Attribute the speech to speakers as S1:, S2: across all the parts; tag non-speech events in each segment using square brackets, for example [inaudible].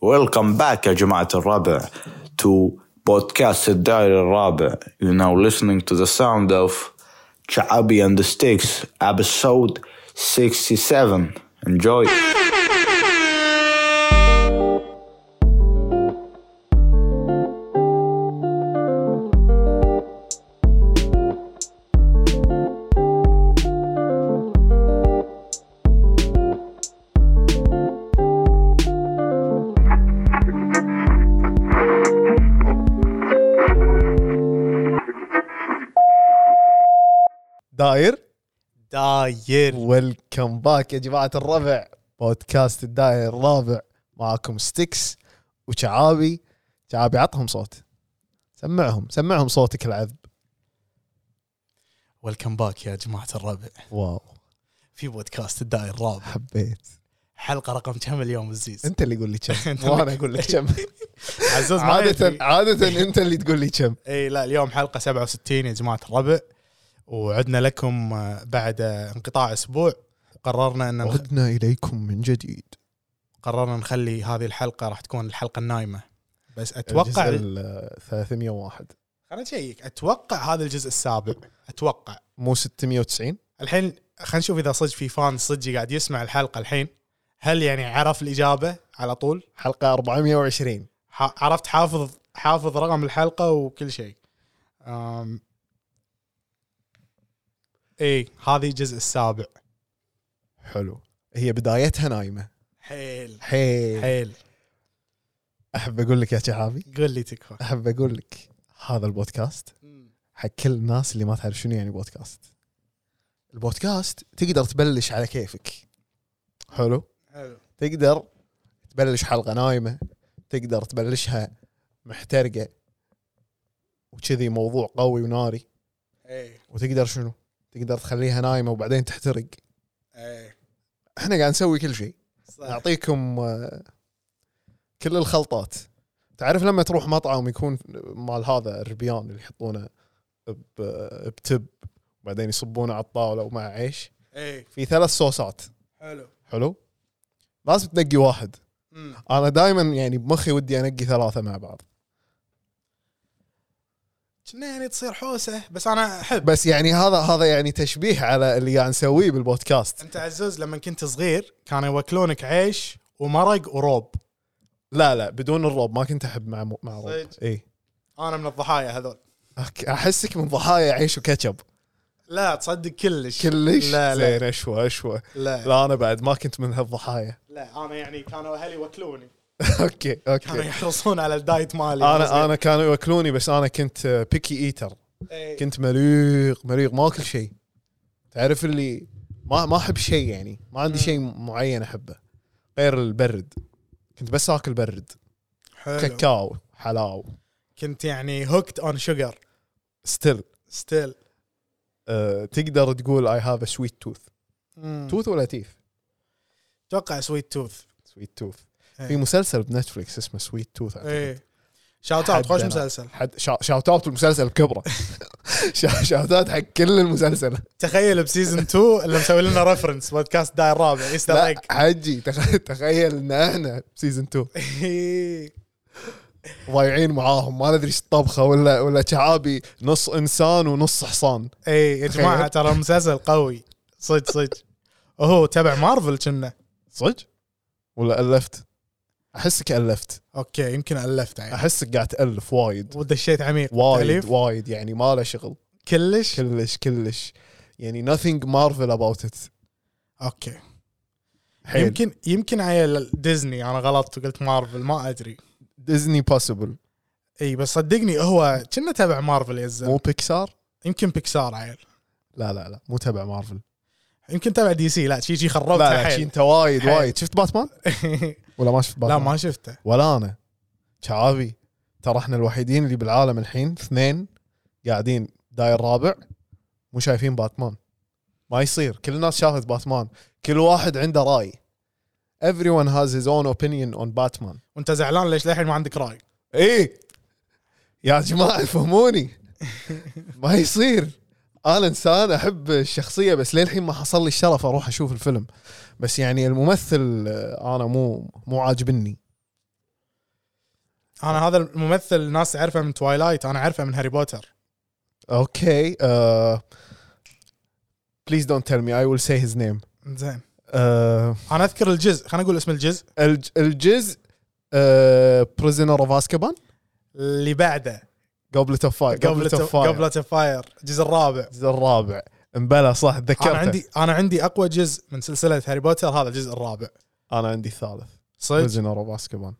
S1: ويلكم باك يا جماعة الربع to بودكاست الدائري الرابع You're now listening to the sound of Chaabi and the Sticks episode 67 Enjoy
S2: داير
S3: داير
S2: ويلكم باك يا جماعه الربع بودكاست الداير الرابع معاكم ستيكس وشعابي شعابي عطهم صوت سمعهم سمعهم صوتك العذب
S3: ويلكم باك يا جماعة الربع
S2: واو
S3: في بودكاست الدائر الرابع
S2: [laughs] حبيت حلقة
S3: رقم كم اليوم [laughs] عزيز
S2: انت اللي قول لي كم
S3: أنت
S2: وانا
S3: اللي-
S2: اقول [laughs] لك كم
S3: عزوز ما
S2: عادة
S3: يدري.
S2: عادة انت اللي تقول لي كم
S3: اي لا اليوم حلقة 67 يا جماعة الربع وعدنا لكم آه، بعد آه، انقطاع اسبوع وقررنا ان نخ...
S2: عدنا اليكم من جديد
S3: قررنا نخلي هذه الحلقة راح تكون الحلقة النايمة بس اتوقع
S2: الجزء ال 301
S3: خليني اشيك اتوقع هذا الجزء السابع اتوقع
S2: مو 690
S3: الحين خلينا نشوف اذا صدق في فان صدق قاعد يسمع الحلقة الحين هل يعني عرف الاجابة على طول
S2: حلقة 420
S3: ح- عرفت حافظ حافظ رقم الحلقه وكل شيء أم... اي إيه، هذه الجزء السابع
S2: حلو هي بدايتها نايمة
S3: حيل
S2: حيل
S3: حيل
S2: احب اقول لك يا شعابي
S3: قل لي تكفى
S2: احب اقول لك هذا البودكاست حق كل الناس اللي ما تعرف شنو يعني بودكاست البودكاست تقدر تبلش على كيفك حلو
S3: حلو
S2: تقدر تبلش حلقه نايمه تقدر تبلشها محترقه وكذي موضوع قوي وناري
S3: اي
S2: وتقدر شنو تقدر تخليها نايمه وبعدين تحترق
S3: اي
S2: احنا قاعد نسوي كل شيء
S3: إيه. صح
S2: نعطيكم آه، كل الخلطات تعرف لما تروح مطعم يكون مال هذا الربيان اللي يحطونه ب- بتب وبعدين يصبونه على الطاوله ومع عيش
S3: اي
S2: في ثلاث صوصات
S3: إيه، حلو
S2: حلو لازم تنقي واحد
S3: مم.
S2: انا دائما يعني بمخي ودي انقي ثلاثه مع بعض
S3: كنا يعني تصير حوسه بس انا احب
S2: بس يعني هذا هذا يعني تشبيه على اللي قاعد نسويه بالبودكاست
S3: انت عزوز لما كنت صغير كانوا يوكلونك عيش ومرق وروب
S2: لا لا بدون الروب ما كنت احب مع مع روب
S3: صدق؟
S2: اي
S3: انا من الضحايا هذول
S2: أك- احسك من ضحايا عيش وكاتشب
S3: لا تصدق كلش
S2: كلش
S3: لا لا
S2: زين اشوى اشوى
S3: لا
S2: لا انا بعد ما كنت من هالضحايا [laughs]
S3: لا انا يعني كانوا اهلي يوكلوني
S2: اوكي
S3: كانوا
S2: اوكي
S3: يحرصون على الدايت مالي يعني
S2: انا انا كانوا يوكلوني بس انا كنت بيكي ايتر
S3: إيه.
S2: كنت مليق مليق ما اكل شيء تعرف اللي ما ما احب شيء يعني ما عندي شيء معين احبه غير البرد كنت بس اكل برد
S3: حلو.
S2: كاكاو حلاو
S3: كنت يعني هوكت اون شوجر
S2: ستيل
S3: ستيل
S2: أه تقدر تقول اي هاف ا سويت توث توث ولا تيث
S3: اتوقع سويت توث
S2: سويت توث
S3: إيه.
S2: في مسلسل بنتفلكس اسمه سويت توث
S3: ايه شاوت اوت خوش
S2: حدنا.
S3: مسلسل
S2: حد شا- شاوت اوت المسلسل بكبره [laughs] شا- شاوت اوت حق كل المسلسل
S3: تخيل بسيزون 2 اللي مسوي لنا ريفرنس بودكاست داير الرابع ايستر
S2: لا
S3: ايج [laughs]
S2: حجي تخ- [laughs] تخيل ان احنا بسيزون 2 ضايعين معاهم ما ندري ايش الطبخه ولا ولا شعابي نص انسان ونص حصان
S3: ايه يا جماعه
S2: تخيل.
S3: ترى المسلسل قوي صدق صدق هو تبع مارفل كنا
S2: صدق؟ ولا الفت؟ احسك الفت
S3: اوكي يمكن الفت يعني
S2: احسك قاعد تالف وايد
S3: ودشيت عميق
S2: وايد
S3: تأليف؟
S2: وايد يعني ما له شغل
S3: كلش
S2: كلش كلش يعني nothing marvel about it
S3: اوكي
S2: حيل يمكن
S3: يمكن يمكن عيل ديزني انا غلطت وقلت مارفل ما ادري
S2: ديزني possible
S3: اي بس صدقني هو كنا تبع مارفل يا الزلمة.
S2: مو بيكسار؟
S3: يمكن بيكسار عيل
S2: لا لا لا مو تبع مارفل
S3: يمكن تبع دي سي لا شي شي
S2: لا
S3: خربت
S2: لا شي انت وايد
S3: حيل.
S2: وايد شفت باتمان؟ ولا ما شفت باتمان؟
S3: [laughs] لا ما شفته
S2: ولا انا شعابي ترى احنا الوحيدين اللي بالعالم الحين اثنين قاعدين داير رابع مو شايفين باتمان ما يصير كل الناس شافت باتمان كل واحد عنده راي everyone has his own opinion on باتمان
S3: وانت زعلان ليش للحين ما عندك راي
S2: ايه يا جماعه فهموني ما يصير انا انسان احب الشخصيه بس للحين ما حصل لي الشرف اروح اشوف الفيلم بس يعني الممثل آه، انا مو مو عاجبني
S3: انا هذا الممثل الناس تعرفه من توايلايت انا عارفه من هاري بوتر
S2: اوكي uh, بليز دونت تيل مي اي ويل سي هيز نيم
S3: زين
S2: Uh,
S3: انا اذكر الجزء خلينا نقول اسم الجزء
S2: الجزء uh, بريزنر اوف اسكابان
S3: اللي بعده
S2: قبلت اوف فاير
S3: قبل
S2: قبلت اوف فاير
S3: قبل فاير الجزء الرابع
S2: الجزء الرابع امبلا صح تذكرته
S3: انا عندي انا عندي اقوى جزء من سلسله هاري بوتر هذا الجزء الرابع
S2: انا عندي الثالث
S3: صدق
S2: بريزنر اوف اسكابان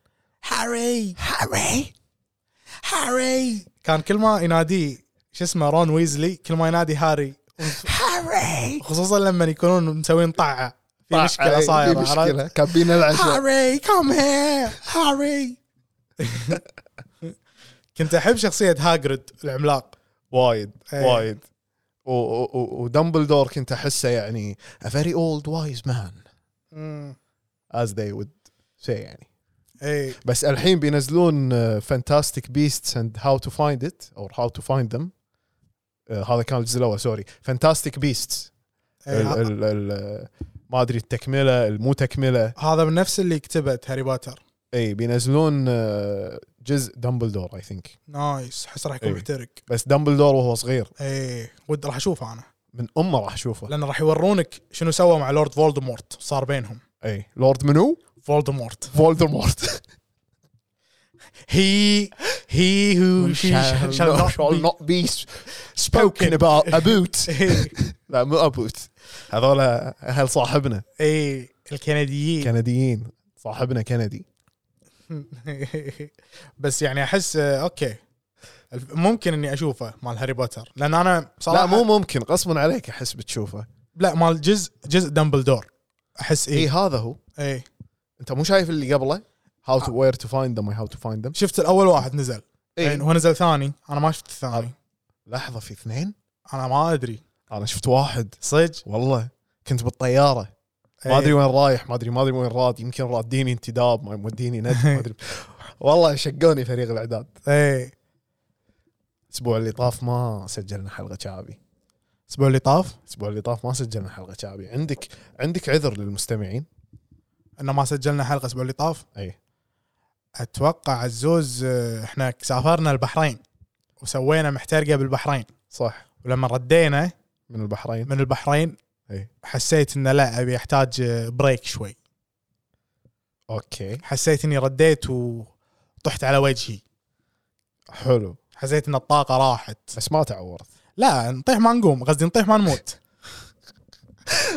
S3: هاري هاري هاري كان كل ما يناديه شو اسمه رون ويزلي كل ما ينادي هاري هاري خصوصا لما يكونون مسوين طعه في مشكله صايره
S2: في
S3: عرفت؟
S2: مشكله كابين العشاء
S3: هاري كم هير هاري [laughs] كنت احب شخصيه هاجرد العملاق
S2: وايد
S3: إيه.
S2: وايد و- و- و- ودمبلدور كنت احسه يعني a very old wise man as they would say يعني
S3: اي
S2: بس الحين بينزلون آه, فانتاستيك بيستس اند هاو تو فايند ات او هاو تو فايند ذم آه, هذا كان الجزء الاول سوري فانتاستيك بيستس إيه، ما ادري التكمله المو تكمله
S3: هذا من نفس اللي كتبت هاري بوتر
S2: اي إيه، بينزلون آه، جزء دمبلدور اي ثينك
S3: نايس احس راح يكون
S2: إيه.
S3: محترق
S2: بس دمبلدور وهو صغير
S3: اي ود راح اشوفه انا
S2: من امه راح اشوفه
S3: لان راح يورونك شنو سوى مع لورد فولدمورت صار بينهم
S2: اي لورد إيه. منو؟
S3: فولدمورت
S2: [laughs] فولدمورت
S3: هي هي هو [laughs]
S2: be spoken about [laughs] about لا مو about هذول اهل صاحبنا
S3: اي إيه، الكنديين
S2: كنديين صاحبنا كندي
S3: [laughs] بس يعني احس آه، اوكي الف- ممكن اني اشوفه مال هاري بوتر لان انا
S2: لا
S3: صراحه
S2: مو ممكن غصبا عليك احس بتشوفه
S3: لا مال جزء جزء إيه، دامبلدور احس
S2: اي
S3: اي
S2: إيه، هذا هو
S3: اي
S2: انت مو شايف اللي قبله هاو تو وير تو فايند ذم هاو تو فايند ذم
S3: شفت الاول واحد نزل الحين
S2: اي
S3: هو نزل ثاني انا ما شفت الثاني
S2: لحظه في اثنين
S3: انا ما ادري
S2: انا شفت واحد
S3: صدق
S2: والله كنت بالطياره ما
S3: إي.
S2: ادري وين رايح ما ادري ما ادري وين راد يمكن راديني انتداب ما موديني ند ما ادري والله شقوني فريق الاعداد
S3: اي
S2: الاسبوع اللي طاف ما سجلنا حلقه شعبي
S3: الاسبوع اللي طاف
S2: الاسبوع اللي طاف ما سجلنا حلقه شعبي عندك عندك عذر للمستمعين
S3: انه ما سجلنا حلقه الاسبوع اللي طاف
S2: اي
S3: اتوقع عزوز آه، احنا سافرنا البحرين وسوينا محترقه بالبحرين
S2: صح
S3: ولما ردينا
S2: من البحرين
S3: من البحرين
S2: إي.
S3: حسيت انه لا ابي احتاج آه، بريك شوي
S2: اوكي
S3: حسيت اني رديت وطحت على وجهي
S2: حلو
S3: حسيت ان الطاقه راحت
S2: بس ما تعورت
S3: لا نطيح ما نقوم قصدي نطيح ما نموت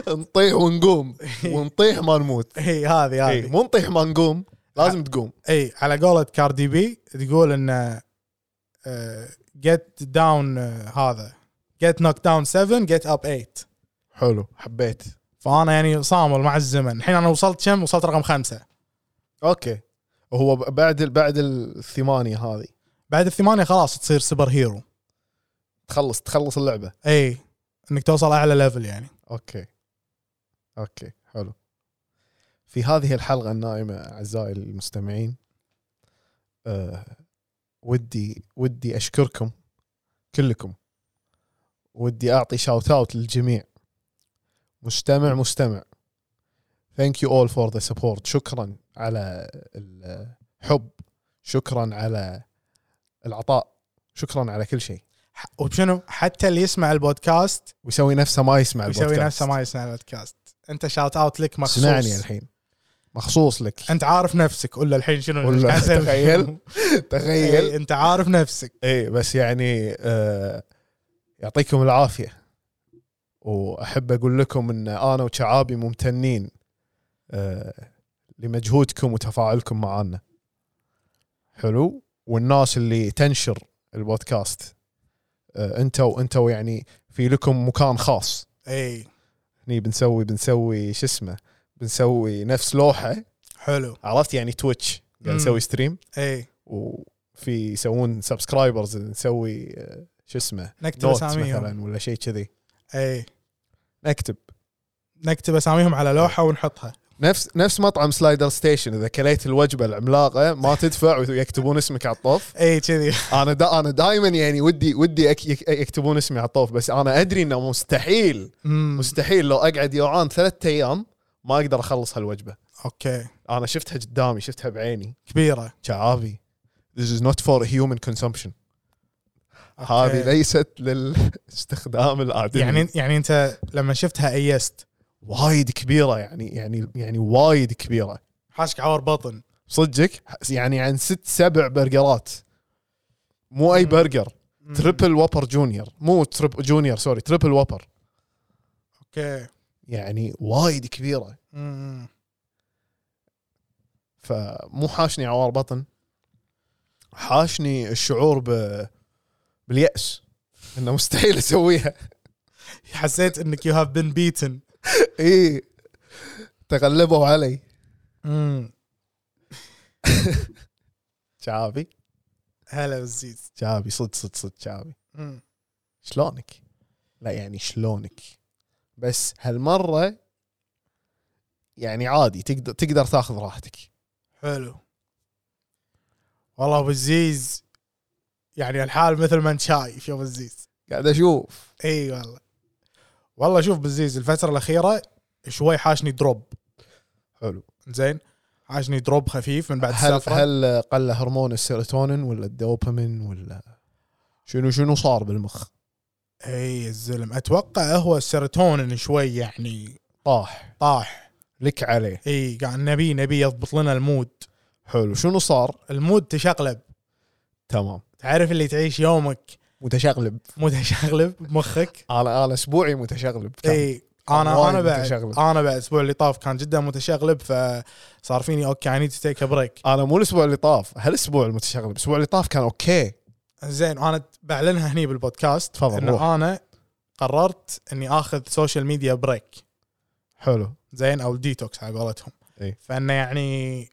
S2: نطيح ونقوم ونطيح ما نموت
S3: هي هذه
S2: إيه،
S3: هذه
S2: مو نطيح ما نقوم لازم تقوم
S3: اي على قولة كاردي بي تقول آه، ان جيت داون آه، هذا جيت نوك داون 7 جيت اب 8
S2: حلو حبيت
S3: فانا يعني صامل مع الزمن الحين انا وصلت كم وصلت رقم خمسة
S2: اوكي هو ب- بعد ال- بعد الثمانيه هذه
S3: بعد الثمانية خلاص تصير سوبر هيرو
S2: تخلص تخلص اللعبه
S3: اي انك توصل اعلى ليفل يعني
S2: اوكي اوكي حلو في هذه الحلقه النائمه اعزائي المستمعين أه ودي ودي اشكركم كلكم ودي اعطي شاوت اوت للجميع مستمع مستمع ثانك يو اول فور ذا سبورت شكرا على الحب شكرا على العطاء شكرا على كل شيء
S3: ح- وشنو حتى اللي يسمع البودكاست
S2: ويسوي نفسه ما يسمع
S3: ويسوي
S2: البودكاست.
S3: نفسه ما يسمع البودكاست انت شاوت اوت لك مخصوص
S2: اسمعني الحين مخصوص لك
S3: انت عارف نفسك قول له الحين شنو
S2: قول له،
S3: قاعد
S2: [laughs]
S3: أسوي.
S2: تخيل.
S3: إيه،
S2: [laughs] تخيل
S3: انت عارف نفسك
S2: اي بس يعني آه يعطيكم العافيه واحب اقول لكم ان انا وشعابي ممتنين آه لمجهودكم وتفاعلكم معنا حلو والناس اللي تنشر البودكاست آه انتوا انتوا يعني في لكم مكان خاص
S3: اي
S2: هني بنسوي بنسوي شو اسمه بنسوي نفس لوحه
S3: حلو
S2: عرفت يعني تويتش قاعد
S3: مم.
S2: نسوي ستريم
S3: اي
S2: وفي يسوون سبسكرايبرز نسوي آه، شو اسمه
S3: نكتب
S2: نوت
S3: اساميهم
S2: مثلا ولا شيء كذي
S3: اي
S2: نكتب
S3: نكتب اساميهم على لوحه ونحطها
S2: نفس نفس مطعم سلايدر ستيشن اذا كليت الوجبه العملاقه ما تدفع ويكتبون اسمك على الطوف
S3: اي كذي [laughs]
S2: انا دا انا دائما يعني ودي ودي أك- يك- يكتبون اسمي على الطوف بس انا ادري انه مستحيل
S3: أمم،
S2: مستحيل لو اقعد يوعان ثلاثة ايام ما اقدر اخلص هالوجبه
S3: اوكي
S2: انا شفتها قدامي شفتها بعيني
S3: كبيره
S2: شعابي This is not for human consumption هذه ليست للاستخدام العادي
S3: يعني يعني انت لما شفتها ايست
S2: وايد كبيره يعني يعني يعني وايد كبيره
S3: حاشك عور بطن
S2: صدقك يعني عن ست سبع برجرات مو اي
S3: مم.
S2: برجر
S3: مم.
S2: تريبل وابر جونيور مو تريب جونيور سوري تريبل وابر
S3: اوكي
S2: يعني وايد كبيره
S3: مم.
S2: فمو حاشني عوار بطن حاشني الشعور ب... بالياس انه مستحيل [laughs] اسويها
S3: حسيت انك يو هاف بين بيتن
S2: اي تغلبوا علي شعابي
S3: هلا بالزيز
S2: شعابي صدق صدق صدق شعابي
S3: مم.
S2: شلونك لا يعني شلونك بس هالمره يعني عادي تقدر تقدر تاخذ راحتك
S3: حلو والله ابو الزيز يعني الحال مثل ما انت شايف يا ابو الزيز
S2: قاعد اشوف
S3: اي والله والله شوف ابو الزيز الفتره الاخيره شوي حاشني دروب
S2: حلو
S3: زين حاشني دروب خفيف من بعد
S2: هل
S3: السفره
S2: هل قل هرمون السيروتونين ولا الدوبامين ولا شنو شنو صار بالمخ
S3: اي الزلم اتوقع هو السيروتونين شوي يعني
S2: طاح
S3: طاح
S2: لك عليه
S3: اي قاعد نبي نبي يضبط لنا المود
S2: حلو شنو صار
S3: المود تشقلب
S2: تمام
S3: تعرف اللي تعيش يومك
S2: متشقلب
S3: مود تشقلب بمخك
S2: انا انا اسبوعي متشقلب كان.
S3: اي
S2: كان
S3: انا
S2: وايد
S3: انا بعد
S2: متشقلب.
S3: انا بعد الاسبوع اللي طاف كان جدا متشقلب فصار فيني اوكي اي نيد تو تيك بريك
S2: انا مو الاسبوع اللي طاف هالاسبوع المتشقلب الاسبوع اللي طاف كان اوكي
S3: زين انا بعلنها هني بالبودكاست
S2: تفضل،
S3: ان
S2: روح.
S3: انا قررت اني اخذ سوشيال ميديا بريك
S2: حلو
S3: زين او ديتوكس على قولتهم
S2: إي.
S3: فانه يعني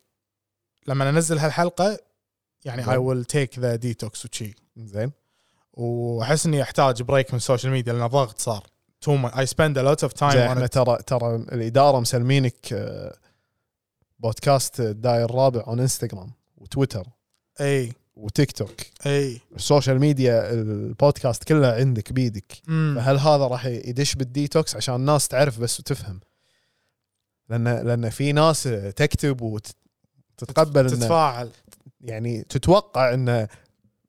S3: لما ننزل هالحلقه يعني
S2: زين.
S3: اي ويل تيك ذا ديتوكس وشي
S2: زين
S3: واحس اني احتاج بريك من السوشيال ميديا لان ضغط صار تو اي سبند ا لوت اوف
S2: زين،
S3: تايم
S2: احنا ترى ترى الاداره مسلمينك آه، بودكاست الداير الرابع اون انستغرام وتويتر
S3: اي
S2: وتيك توك
S3: اي
S2: السوشيال ميديا البودكاست كله عندك بيدك
S3: مم.
S2: فهل هذا راح يدش بالديتوكس عشان الناس تعرف بس وتفهم لان لان في ناس تكتب وتتقبل انه
S3: تتفاعل
S2: يعني تتوقع انه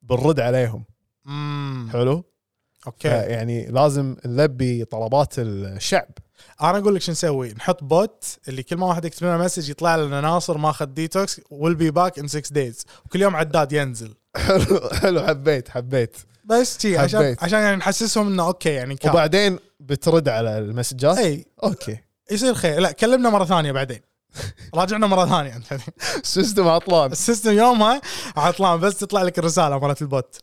S2: بنرد عليهم
S3: امم
S2: حلو
S3: اوكي
S2: يعني لازم نلبي طلبات الشعب
S3: انا اقول لك شو نسوي نحط بوت اللي كل ما واحد يكتب لنا مسج يطلع لنا ناصر ماخذ ديتوكس ويل بي باك ان 6 دايز وكل يوم عداد ينزل
S2: حلو حلو حبيت حبيت
S3: بس شي عشان
S2: حبيت.
S3: عشان يعني نحسسهم انه اوكي يعني كان
S2: وبعدين بترد على المسجات
S3: اي
S2: اوكي
S3: يصير خير لا كلمنا مره ثانيه بعدين راجعنا مره ثانيه انت
S2: السيستم عطلان
S3: السيستم يومها عطلان بس تطلع لك الرساله مالت البوت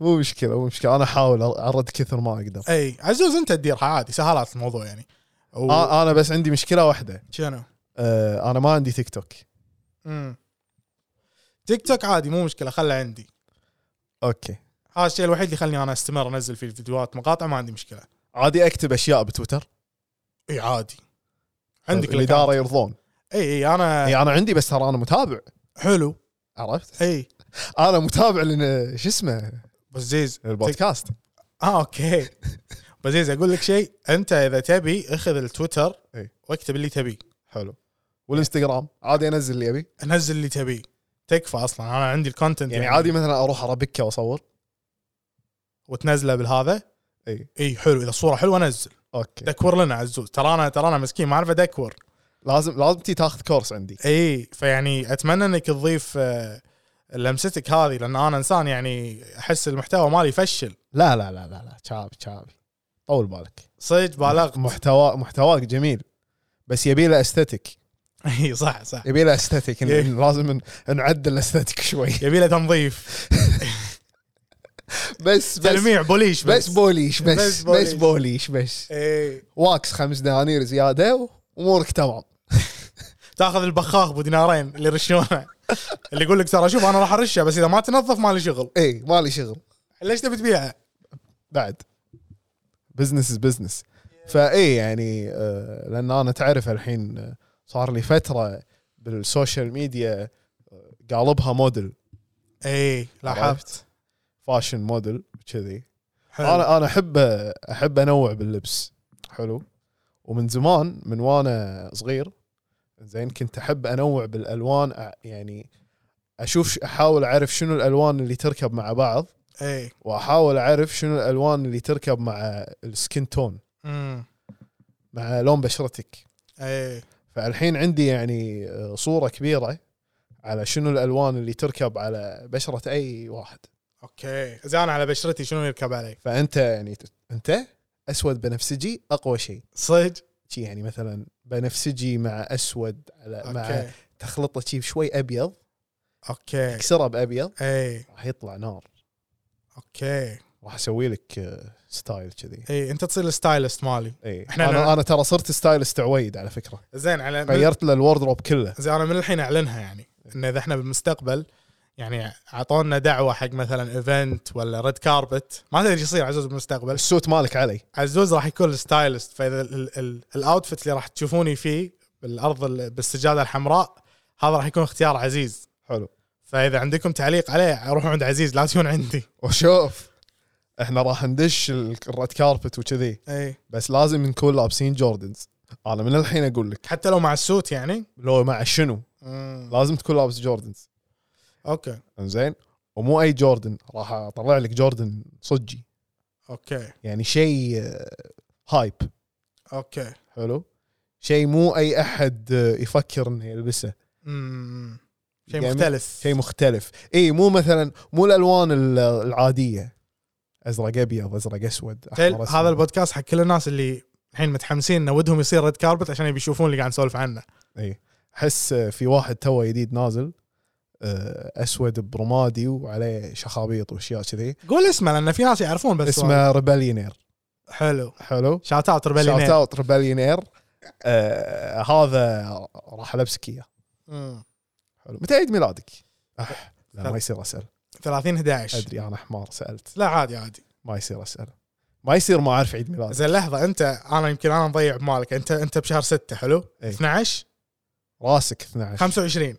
S2: مو مشكله مو مشكله انا احاول ارد كثر ما اقدر
S3: اي عزوز انت تديرها عادي سهالات الموضوع يعني و...
S2: آه، انا بس عندي مشكله واحده
S3: شنو؟
S2: آه، انا ما عندي تيك توك
S3: مم. تيك توك عادي مو مشكله خله عندي
S2: اوكي
S3: هذا الشيء الوحيد اللي يخليني انا استمر انزل فيه الفيديوهات مقاطع ما عندي مشكله
S2: عادي اكتب اشياء بتويتر
S3: اي عادي عندك آه.
S2: الاداره
S3: الاداره
S2: يرضون
S3: اي اي انا
S2: اي انا عندي بس ترى انا متابع
S3: حلو
S2: عرفت
S3: اي
S2: انا متابع لان شو اسمه
S3: بس زيز
S2: البودكاست
S3: اه
S2: [laughs]
S3: اوكي بس زيز اقول لك شيء انت اذا تبي اخذ التويتر
S2: إي.
S3: واكتب اللي تبيه
S2: حلو والانستغرام عادي انزل اللي يعني ابي
S3: نزل اللي تبيه تكفى اصلا انا عندي الكونتنت
S2: يعني عادي مثلا اروح اربكه واصور
S3: وتنزله بالهذا
S2: اي
S3: اي حلو اذا الصوره حلوه نزل
S2: اوكي
S3: دكور لنا عزوز ترى انا ترى انا مسكين ما اعرف ادكور
S2: لازم لازم تي تاخذ كورس عندي
S3: اي فيعني اتمنى انك تضيف آه، لمستك هذه لان انا انسان يعني احس المحتوى مالي يفشل
S2: لا لا لا لا لا شعبي شعبي طول بالك
S3: صدق
S2: [laughs]
S3: بالغت
S2: محتوى محتواك جميل بس يبي له استاتيك
S3: اي صح صح
S2: يبي له استاتيك
S3: إيه.
S2: لازم ن- نعدل استاتيك شوي
S3: يبي له
S2: [laughs]
S3: تنظيف
S2: بس بس
S3: تلميع بوليش
S2: بس بوليش بس
S3: بس
S2: بس
S3: بوليش.
S2: بوليش, بس, بوليش بس
S3: اي
S2: واكس خمس دنانير زياده وامورك تمام
S3: تاخذ البخاخ بدينارين
S2: [laughs]
S3: اللي يرشونه اللي يقول لك ترى شوف انا راح ارشه بس اذا ما تنظف ما لي شغل
S2: اي إيه، مالي شغل
S3: ليش تبي تبيعه؟
S2: بعد بزنس از بزنس فاي يعني آه، لان انا تعرف الحين آه، صار لي فتره بالسوشيال ميديا آه، قالبها موديل
S3: اي لاحظت
S2: فاشن موديل كذي
S3: حلو
S2: انا انا احب احب انوع باللبس حلو ومن زمان من وانا صغير زين كنت احب انوع بالالوان أ- يعني اشوف ش- احاول اعرف شنو الالوان اللي تركب مع بعض
S3: اي
S2: واحاول اعرف شنو الالوان اللي تركب مع السكين تون
S3: امم
S2: مع لون بشرتك
S3: اي
S2: فالحين عندي يعني آه، صوره كبيره على شنو الالوان اللي تركب على بشره اي واحد
S3: اوكي زين على بشرتي شنو يركب علي
S2: فانت يعني ت- انت اسود بنفسجي اقوى شيء
S3: صدق
S2: شي يعني مثلا بنفسجي مع اسود على مع
S3: اوكي
S2: تخلطه شي شوي ابيض
S3: اوكي
S2: تكسره بابيض
S3: اي
S2: راح يطلع نار
S3: اوكي
S2: راح اسوي لك آه، ستايل كذي
S3: اي انت إيه، تصير الستايلست مالي
S2: اي
S3: إحنا-
S2: انا انا ترى صرت ستايلست عويد على فكره
S3: زين على
S2: غيرت له الوردروب كله
S3: زين انا من الحين اعلنها يعني ان اذا احنا بالمستقبل يعني اعطونا دعوه حق مثلا ايفنت ولا ريد كاربت ما تدري ايش يصير عزوز بالمستقبل
S2: السوت مالك علي
S3: عزوز راح يكون الستايلست فاذا ال- ال- الاوتفيت اللي راح تشوفوني فيه بالارض ال- بالسجاده الحمراء هذا راح يكون اختيار عزيز
S2: حلو
S3: فاذا عندكم تعليق عليه روحوا عند عزيز لا تجون عندي
S2: وشوف احنا راح ندش ال- الريد كاربت وكذي
S3: اي
S2: بس لازم نكون لابسين جوردنز انا من الحين اقول لك
S3: حتى لو مع السوت يعني
S2: لو مع شنو لازم تكون لابس جوردنز
S3: اوكي
S2: انزين ومو اي جوردن راح اطلع لك جوردن صجي
S3: اوكي
S2: يعني شيء آه، هايب
S3: اوكي
S2: حلو شيء مو اي احد آه، يفكر انه يلبسه
S3: امم شيء
S2: يعني
S3: مختلف
S2: شيء مختلف اي مو مثلا مو الالوان ال- العاديه ازرق ابيض ازرق اسود
S3: تخيل
S2: أسود.
S3: طيب، هذا البودكاست حق كل الناس اللي الحين متحمسين ان ودهم يصير ريد كاربت عشان يبي يشوفون اللي قاعد نسولف عنه
S2: اي احس آه، في واحد توه جديد نازل آه، اسود برمادي وعليه شخابيط واشياء كذي
S3: قول اسمه لان في ناس يعرفون بس
S2: اسمه ريبليونير
S3: حلو
S2: حلو
S3: شات اوت
S2: شاوت
S3: ربلينير
S2: اوت ريبليونير آه هذا راح البسك اياه حلو متى عيد ميلادك؟ أح لا ما يصير اسال
S3: 30 11
S2: ادري انا حمار سالت
S3: لا عادي عادي
S2: ما يصير اسال ما يصير ما اعرف عيد ميلادك
S3: زين لحظه انت انا يمكن انا مضيع بمالك انت انت بشهر 6 حلو
S2: إيه.
S3: 12
S2: راسك 12
S3: 25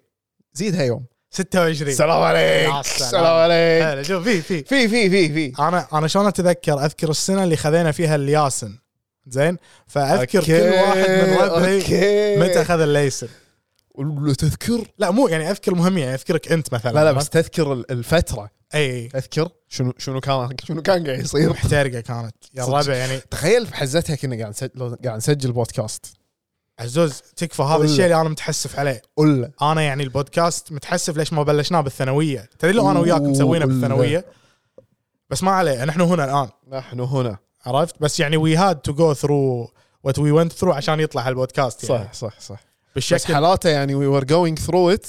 S2: زيدها يوم
S3: 26
S2: السلام
S3: يا
S2: عليك
S3: سلام.
S2: السلام عليك
S3: حلو شوف في في
S2: في في في في
S3: انا انا شلون اتذكر اذكر السنه اللي خذينا فيها الياسن زين فاذكر كل واحد من ربعي متى
S2: متى
S3: اخذ الليسن
S2: ولو تذكر
S3: لا مو يعني اذكر مهم يعني اذكرك انت مثلا
S2: لا لا بس تذكر ال- الفتره
S3: اي
S2: تذكر شنو شنو كان شنو كان قاعد يصير
S3: محترقه كانت يا
S2: صدق.
S3: الربع يعني
S2: تخيل بحزتها كنا قاعد نسجل لو قاعد نسجل بودكاست
S3: عزوز تكفى هذا
S2: ولا.
S3: الشيء اللي انا متحسف عليه
S2: قول
S3: انا يعني البودكاست متحسف ليش ما بلشناه بالثانويه تدري لو انا وياك
S2: أوه، ولا.
S3: مسوينه بالثانويه بس ما عليه نحن هنا الان
S2: نحن هنا
S3: عرفت بس يعني وي هاد تو جو ثرو وات وي ونت ثرو عشان يطلع هالبودكاست يعني
S2: صح صح صح بس
S3: بالشكل
S2: حالاته يعني وي ور جوينج ثرو ات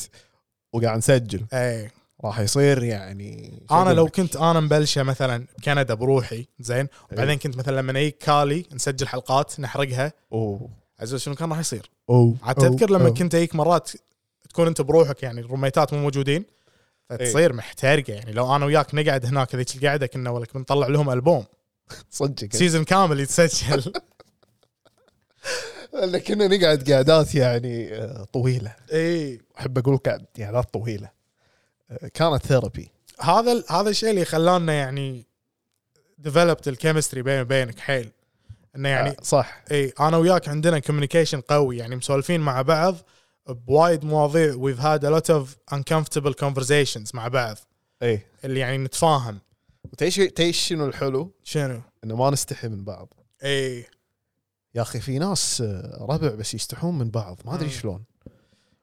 S2: وقاعد نسجل
S3: اي
S2: راح يصير يعني
S3: انا لو
S2: كنت
S3: كنت انا مبلشه مثلا بكندا بروحي زين وبعدين كنت مثلا لما يجي كالي نسجل حلقات نحرقها
S2: اوه
S3: عزوز شنو كان راح يصير
S2: اوه
S3: عاد تذكر لما
S2: أوه.
S3: كنت اجيك مرات تكون انت بروحك يعني الروميتات مو موجودين فتصير محترقه يعني لو انا وياك نقعد هناك ذيك القعده كنا ولا كنا نطلع لهم البوم
S2: صدق يعني.
S3: سيزون كامل يتسجل
S2: لأن كنا نقعد قعدات يعني آه، طويله
S3: اي
S2: احب اقول قعد قعدات طويله يعني آه، كانت ثيرابي
S3: هذا ال- هذا الشيء اللي خلانا يعني ديفلوبت الكيمستري بيني وبينك حيل انه يعني
S2: آه، صح
S3: اي انا وياك عندنا كوميونيكيشن قوي يعني مسولفين مع بعض بوايد مواضيع ويف هاد ا لوت اوف uncomfortable conversations مع بعض
S2: اي
S3: اللي يعني نتفاهم
S2: وتيش تيش إيه. شنو الحلو
S3: شنو؟
S2: انه ما نستحي من بعض
S3: اي
S2: يا اخي في ناس آه، ربع بس يستحون من بعض ما ادري
S3: مم.
S2: شلون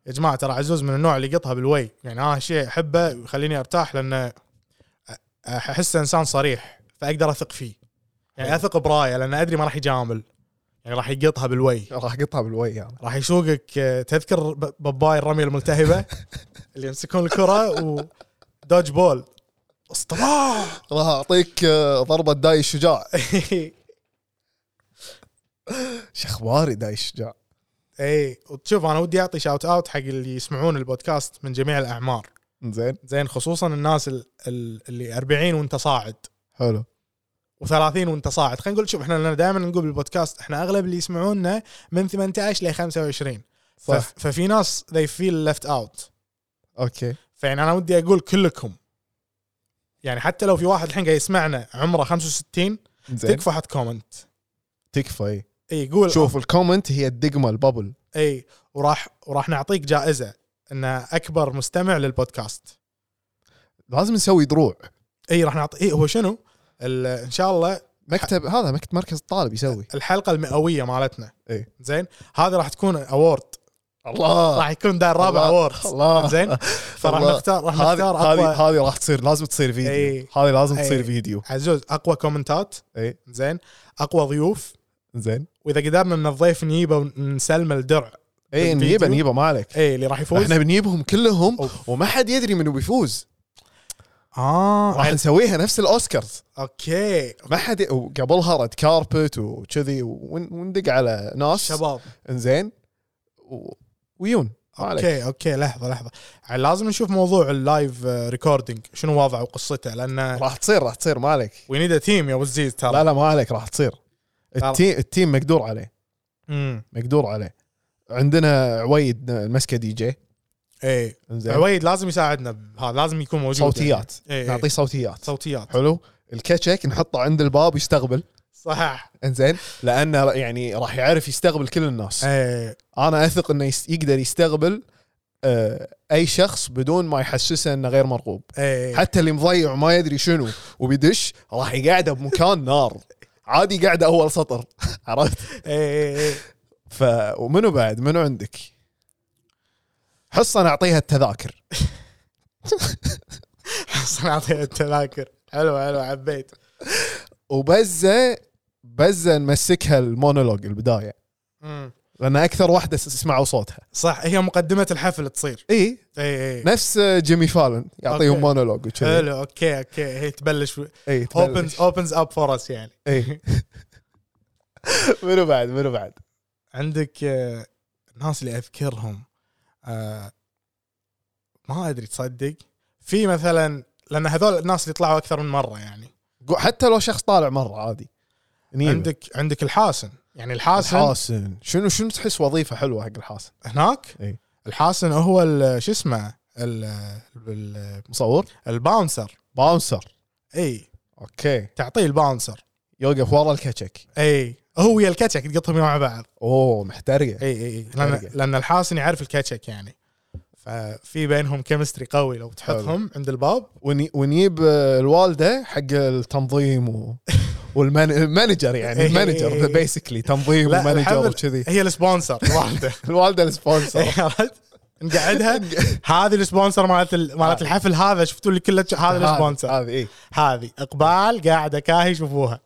S3: يا جماعه ترى عزوز من النوع اللي يقطها بالوي يعني انا شيء احبه ويخليني ارتاح لانه أ- احسه انسان صريح فاقدر اثق فيه يعني اثق برايه لان ادري ما راح يجامل يعني راح يقطها بالوي
S2: راح اقطها بالوي يعني
S3: راح يسوقك آه، تذكر ب- باباي الرميه الملتهبه اللي يمسكون الكره ودوج بول اصطباح
S2: راح اعطيك آه، ضربه داي الشجاع [laughs] شخباري داي الشجاع
S3: [laughs] اي إيه، وتشوف انا ودي اعطي شاوت اوت حق اللي يسمعون البودكاست من جميع الاعمار
S2: زين
S3: زين خصوصا الناس ال- ال- اللي 40 وانت صاعد
S2: حلو
S3: و30 وانت صاعد خلينا نقول شوف احنا دائما نقول بالبودكاست احنا اغلب اللي يسمعونا من 18 ل 25
S2: صح.
S3: فف- ففي ناس they feel left out
S2: اوكي
S3: فيعني انا ودي اقول كلكم يعني حتى لو في واحد الحين قاعد يسمعنا عمره 65
S2: زين
S3: تكفى إيه، حط كومنت
S2: تكفى اي
S3: اي قول
S2: شوف الكومنت هي الدقمه الببل
S3: إيه، اي وراح وراح نعطيك جائزه ان اكبر مستمع للبودكاست
S2: لازم نسوي دروع
S3: اي إيه، راح نعطي اي هو شنو؟ ال- ان شاء الله
S2: مكتب هذا مكتب مركز الطالب يسوي
S3: الحلقه المئويه مالتنا
S2: إي.
S3: زين هذه راح تكون اوورد
S2: الله
S3: راح يكون داير رابع اوورد
S2: آه. [laughs] الله
S3: زين فراح
S2: الله.
S3: نختار راح
S2: هذه
S3: نختار
S2: هذه
S3: اقوى
S2: هذه راح تصير لازم تصير فيديو
S3: إي.
S2: هذه لازم
S3: إي.
S2: تصير فيديو
S3: عزوز اقوى كومنتات
S2: اي
S3: زين اقوى ضيوف
S2: زين
S3: واذا قدرنا ان الضيف نجيبه ونسلمه الدرع
S2: اي
S3: بالفيديو.
S2: إيه، نجيبه نجيبه ما عليك
S3: اي اللي راح يفوز
S2: احنا بنجيبهم كلهم
S3: أوف.
S2: وما حد يدري منو بيفوز
S3: اه
S2: راح نسويها نفس الاوسكارز
S3: اوكي
S2: ما حد قبلها ريد كاربت وكذي ون- وندق على ناس [laughs]
S3: شباب
S2: انزين و- ويون ما عليك.
S3: اوكي اوكي لحظه لحظه لازم نشوف موضوع اللايف ريكوردينج شنو وضعه وقصته لان
S2: راح تصير راح تصير ما عليك
S3: وي نيد تيم يا ابو الزيز ترى
S2: لا لا ما عليك راح تصير
S3: ترى.
S2: التيم التيم مقدور عليه
S3: امم
S2: مقدور عليه عندنا عويد مسكه دي جي
S3: اي
S2: انزين
S3: عويد لازم يساعدنا بهذا لازم يكون موجود
S2: صوتيات
S3: يعني. إي،
S2: نعطيه
S3: اي
S2: صوتيات
S3: صوتيات
S2: حلو الكاتشك نحطه عند الباب يستقبل
S3: صحيح
S2: انزين لانه يعني راح يعرف يستقبل كل الناس
S3: اي
S2: انا اثق انه يس- يقدر يستقبل آه، اي شخص بدون ما يحسسه انه غير مرغوب
S3: اي
S2: حتى اللي مضيع وما يدري شنو وبيدش راح يقعده بمكان نار عادي قاعده اول سطر [laughs] عرفت
S3: اي إي.
S2: ف ومنو بعد منو عندك حصه نعطيها التذاكر
S3: صناعه التذاكر حلو حلو حبيت
S2: وبزه بزه نمسكها المونولوج البدايه
S3: أمم.
S2: لان اكثر واحده س- سمعوا صوتها
S3: صح هي مقدمه الحفل تصير إيه،
S2: اي
S3: اي اي
S2: نفس جيمي فالن يعطيهم
S3: أوكي.
S2: مونولوج وكذي
S3: حلو اوكي اوكي هي تبلش
S2: اي
S3: اوبنز
S2: نعم. تبلش.
S3: اوبنز اب فور اس يعني
S2: اي [laughs] منو بعد منو بعد
S3: عندك آه، الناس اللي اذكرهم آه، ما ادري تصدق في مثلا لان هذول الناس اللي طلعوا اكثر من مره يعني
S2: قو- حتى لو شخص طالع مره عادي نيمة.
S3: عندك عندك الحاسن يعني الحاسن, الحاسن.
S2: الحاسن شنو شنو تحس وظيفه حلوه حق الحاسن
S3: هناك
S2: إي.
S3: الحاسن هو ال- شو اسمه ال- ال-
S2: مصور
S3: الباونسر
S2: باونسر
S3: اي
S2: اوكي
S3: تعطيه الباونسر
S2: يوقف ورا الكتشك
S3: اي هو ويا الكاتشك تقطهم مع بعض
S2: اوه محترقه
S3: اي اي لان
S2: فرقة.
S3: لان الحاسن يعرف الكاتشك يعني ففي بينهم كيمستري قوي لو تحطهم عند الباب
S2: وني- ونجيب آه، الوالده حق التنظيم
S3: [laughs]
S2: و... والمانجر يعني
S3: إيه.
S2: المانجر بيسكلي تنظيم
S3: لا،
S2: ومانجر
S3: الحمد-
S2: وكذي
S3: هي السبونسر [laughs] واحده
S2: الوالده
S3: [laughs]
S2: السبونسر
S3: عرفت؟
S2: [laughs]
S3: نقعدها هذه السبونسر مالت ال- مالت الحفل هذا شفتوا اللي كله هذا السبونسر
S2: هذه اي
S3: هذه اقبال قاعده كاهي شوفوها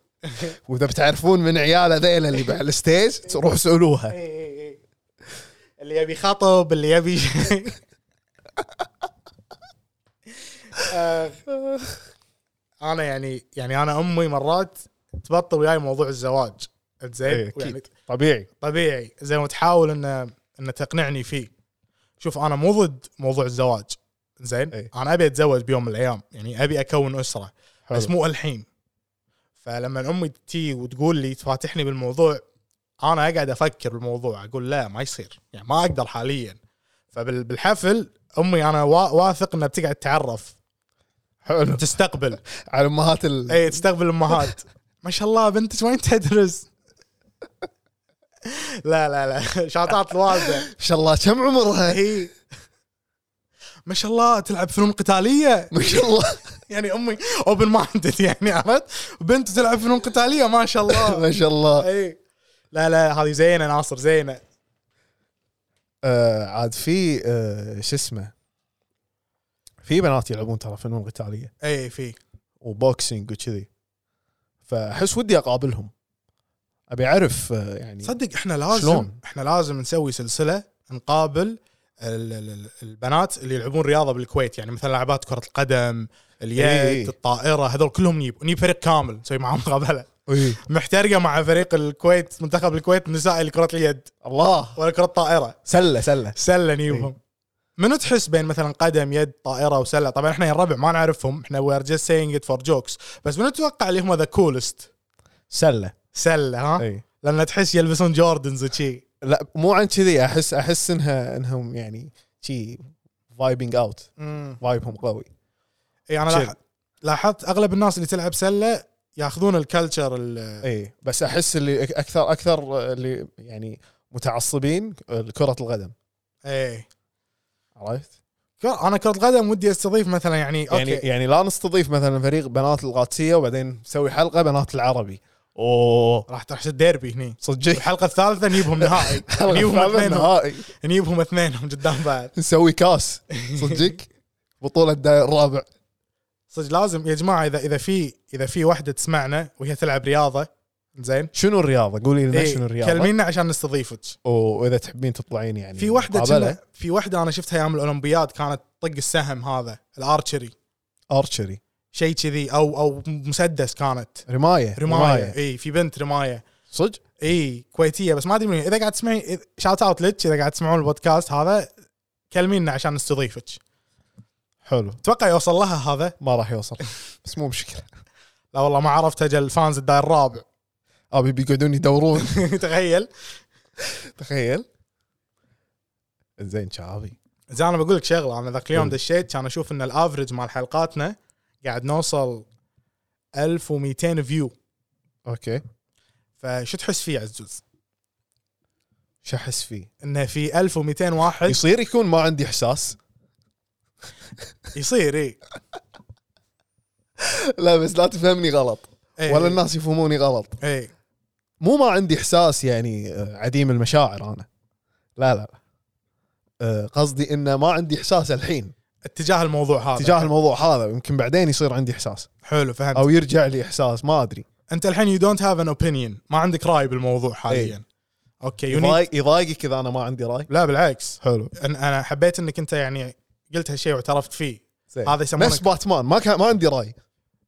S2: واذا بتعرفون من عياله ذيلا اللي بالستيج روحوا [laughs]
S3: إيه.
S2: سالوها
S3: اللي يبي خطب اللي يبي شيء. آخ. انا آه، يعني يعني انا امي مرات تبطل وياي موضوع الزواج
S2: إيه،
S3: زين
S2: أكيد.
S3: يعني
S2: طبيعي
S3: طبيعي زي ما تحاول ان ان تقنعني فيه شوف انا مو ضد موضوع الزواج زين
S2: إيه.
S3: انا ابي اتزوج بيوم من الايام يعني ابي اكون اسره
S2: حلو.
S3: بس مو الحين فلما امي تي وتقول لي تفاتحني بالموضوع انا اقعد افكر بالموضوع اقول لا ما يصير يعني ما اقدر حاليا فبالحفل امي انا وا- واثق انها بتقعد تعرف
S2: حلو
S3: تستقبل
S2: على امهات ال...
S3: اي
S2: [laughs]
S3: تستقبل الامهات ما شاء الله بنتك وين تدرس لا لا لا شاطات الوالده
S2: ان شاء الله كم عمرها
S3: هي ما شاء الله تلعب فنون قتاليه
S2: ما شاء الله
S3: يعني امي اوبن مايندد يعني عرفت بنت تلعب فنون قتاليه ما شاء الله
S2: [laughs] ما شاء الله
S3: اي لا لا هذه زينه ناصر زينه
S2: آه عاد في آه شو اسمه في بنات يلعبون ترى فنون قتاليه
S3: اي في
S2: وبوكسينج وكذي فاحس ودي اقابلهم ابي اعرف آه، يعني
S3: صدق احنا لازم
S2: شلون؟
S3: شلون؟ احنا لازم نسوي سلسله نقابل ال- ال- ال- البنات اللي يلعبون رياضه بالكويت يعني مثلا لاعبات كره القدم
S2: إيه.
S3: اليد الطائره هذول كلهم نجيب نجيب فريق كامل نسوي معاهم مقابله
S2: إيه.
S3: محترقه مع فريق الكويت منتخب الكويت النسائي لكره اليد
S2: الله
S3: ولا كره الطائره
S2: سله سله
S3: سله
S2: إيه.
S3: نجيبهم منو تحس بين مثلا قدم يد طائره وسله طبعا احنا يا الربع ما نعرفهم احنا وي ار جاست سينج ات فور جوكس بس منو تتوقع اللي هم ذا كولست
S2: سله
S3: سله ها
S2: اي
S3: لان تحس يلبسون جوردنز وشي
S2: إيه. لا مو عن كذي احس احس انها انهم يعني شي فايبنج اوت
S3: مم.
S2: فايبهم قوي
S3: اي انا
S2: شيل.
S3: إيه، لاح- لاحظت اغلب الناس اللي تلعب سله ياخذون الكلتشر ال-
S2: اي إيه. بس احس اللي أك- اكثر اكثر اللي يعني متعصبين كره القدم
S3: اي
S2: عرفت؟
S3: إيه. كر- انا كره القدم ودي استضيف مثلا يعني اوكي
S2: يعني يعني لا نستضيف مثلا فريق بنات القادسيه وبعدين نسوي حلقه بنات العربي اوه
S3: راح راح تصير ديربي هني
S2: [laughs] صدق
S3: الحلقه الثالثه نجيبهم نهائي نجيبهم اثنينهم
S2: نهائي
S3: نجيبهم اثنينهم قدام بعض
S2: نسوي كاس صدق بطوله الدائر الرابع
S3: صدق لازم يا جماعه اذا اذا في اذا في واحده تسمعنا وهي تلعب رياضه زين
S2: شنو الرياضه قولي لنا
S3: إيه،
S2: شنو الرياضه
S3: كلمينا عشان نستضيفك
S2: واذا تحبين تطلعين يعني
S3: في واحده
S2: مقابلة.
S3: كنا- في واحده انا شفتها ايام الاولمبياد كانت طق السهم هذا الارشري
S2: ارشري
S3: شيء كذي او او مسدس كانت
S2: رمايه
S3: رمايه اي في بنت رمايه
S2: صدق
S3: اي كويتيه بس ما ادري من وين. اذا قاعد تسمعين شاوت اوت لك اذا قاعد تسمعون البودكاست هذا كلمينا عشان نستضيفك
S2: حلو
S3: اتوقع يوصل لها هذا
S2: ما راح يوصل [laughs] بس مو مشكله
S3: لا والله ما عرفت اجل الفانز الداير الرابع [laughs]
S2: ابي بيقعدون [laughs] يدورون
S3: تخيل
S2: تخيل زين شعابي
S3: زين انا بقول لك شغله انا ذاك اليوم
S2: قول.
S3: دشيت كان اشوف ان الافرج مال حلقاتنا قاعد نوصل 1200 فيو
S2: اوكي
S3: فشو تحس فيه عزوز؟
S2: شو احس فيه؟
S3: انه في 1200 واحد
S2: يصير يكون ما عندي احساس
S3: يصير اي
S2: لا بس لا تفهمني غلط
S3: إي.
S2: ولا الناس يفهموني غلط
S3: اي
S2: مو ما عندي احساس يعني آه، عديم المشاعر انا لا لا لا. آه، قصدي انه ما عندي احساس الحين
S3: اتجاه الموضوع هذا
S2: تجاه الموضوع هذا يمكن بعدين يصير عندي احساس
S3: حلو فهمت
S2: او يرجع لي احساس ما ادري
S3: انت الحين يو دونت هاف ان اوبينيون ما عندك راي بالموضوع حاليا اوكي you need-
S2: يضايق- يضايقك اذا انا ما عندي راي
S3: لا بالعكس
S2: حلو
S3: أن- انا حبيت انك انت يعني قلت هالشيء واعترفت فيه
S2: زين.
S3: هذا يسمونه
S2: نفس باتمان ما كان ما عندي راي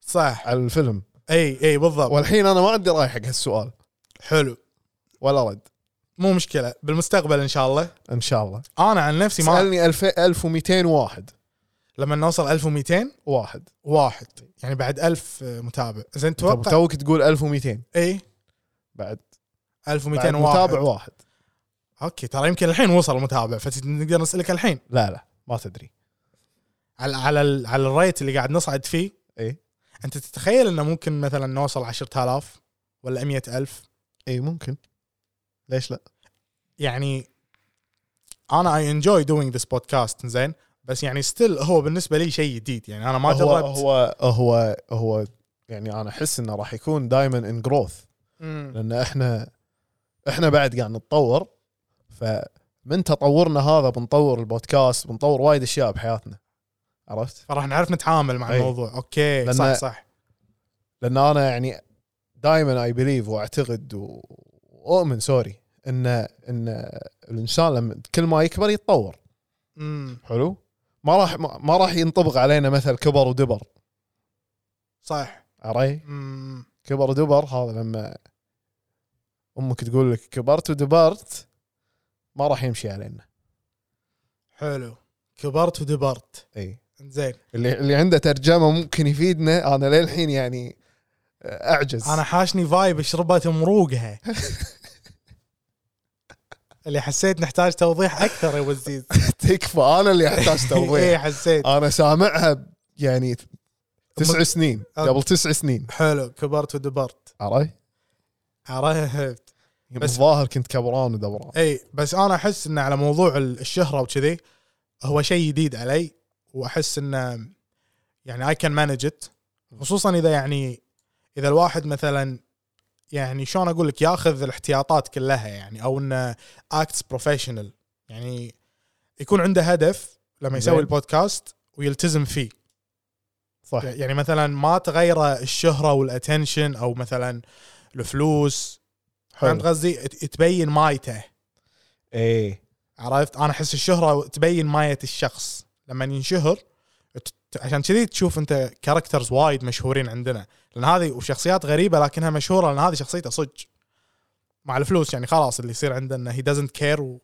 S3: صح
S2: على الفيلم
S3: اي اي بالضبط
S2: والحين انا ما عندي راي حق هالسؤال
S3: حلو
S2: ولا رد
S3: مو مشكله بالمستقبل ان شاء الله
S2: ان شاء الله
S3: انا عن نفسي ما
S2: سالني 1000 1200 واحد
S3: لما نوصل 1200
S2: واحد
S3: واحد يعني بعد 1000 متابع زين
S2: طب
S3: توقع
S2: توك تقول 1200
S3: اي
S2: بعد, بعد
S3: 1200 واحد
S2: متابع واحد
S3: اوكي ترى يمكن الحين وصل متابع فنقدر نسالك الحين
S2: لا لا ما تدري
S3: على على ال- على الريت اللي قاعد نصعد فيه
S2: اي
S3: انت تتخيل انه ممكن مثلا نوصل 10000 ولا 100000
S2: اي ممكن ليش لا
S3: يعني انا اي انجوي دوينج ذس بودكاست زين بس يعني ستيل هو بالنسبه لي شيء جديد يعني انا ما
S2: هو
S3: جربت
S2: هو هو هو يعني انا احس انه راح يكون دائما ان جروث
S3: مم.
S2: لان احنا احنا بعد قاعد نتطور فمن تطورنا هذا بنطور البودكاست بنطور وايد اشياء بحياتنا عرفت؟
S3: فراح نعرف نتعامل مع
S2: أي.
S3: الموضوع اوكي
S2: إيه. لأن-
S3: صح صح
S2: لان انا يعني دائما اي بليف واعتقد و- واؤمن سوري ان ان الانسان لما كل ما يكبر يتطور
S3: مم.
S2: حلو؟ ما راح ما ما راح ينطبق علينا مثل كبر ودبر
S3: صح
S2: علي؟
S3: مم.
S2: كبر ودبر هذا لما امك تقول لك كبرت ودبرت ما راح يمشي علينا
S3: حلو كبرت ودبرت
S2: اي
S3: زين
S2: اللي اللي عنده ترجمه ممكن يفيدنا انا للحين يعني اعجز
S3: انا حاشني فايب
S2: [laughs]
S3: شربت مروقها اللي حسيت نحتاج توضيح اكثر يا وزيز
S2: تكفى انا اللي
S3: [laughs]
S2: احتاج
S3: اي
S2: توضيح
S3: إيه، حسيت
S2: انا سامعها ب- يعني تسع سنين
S3: أم-
S2: قبل تسع سنين
S3: حلو كبرت ودبرت
S2: عرفت؟
S3: عرفت بس-
S2: الظاهر كنت كبران ودوران
S3: اي بس انا احس انه على موضوع ال- الشهره وكذي هو شيء جديد علي واحس انه يعني اي كان مانج ات خصوصا اذا يعني اذا الواحد مثلا يعني شلون اقول لك ياخذ الاحتياطات كلها يعني او انه اكتس بروفيشنال يعني يكون عنده هدف لما يسوي
S2: زين.
S3: البودكاست ويلتزم فيه
S2: صح
S3: يعني مثلا ما تغيره الشهره والاتنشن او مثلا الفلوس فهمت
S2: حلو
S3: قصدي ت- تبين مايته
S2: اي
S3: عرفت انا احس الشهره تبين مايه الشخص لما ينشهر ت- ت- عشان كذي تشوف انت كاركترز وايد مشهورين عندنا لان هذه وشخصيات غريبه لكنها مشهوره لان هذه شخصيته صدق مع الفلوس يعني خلاص اللي يصير عندنا هي دازنت كير و...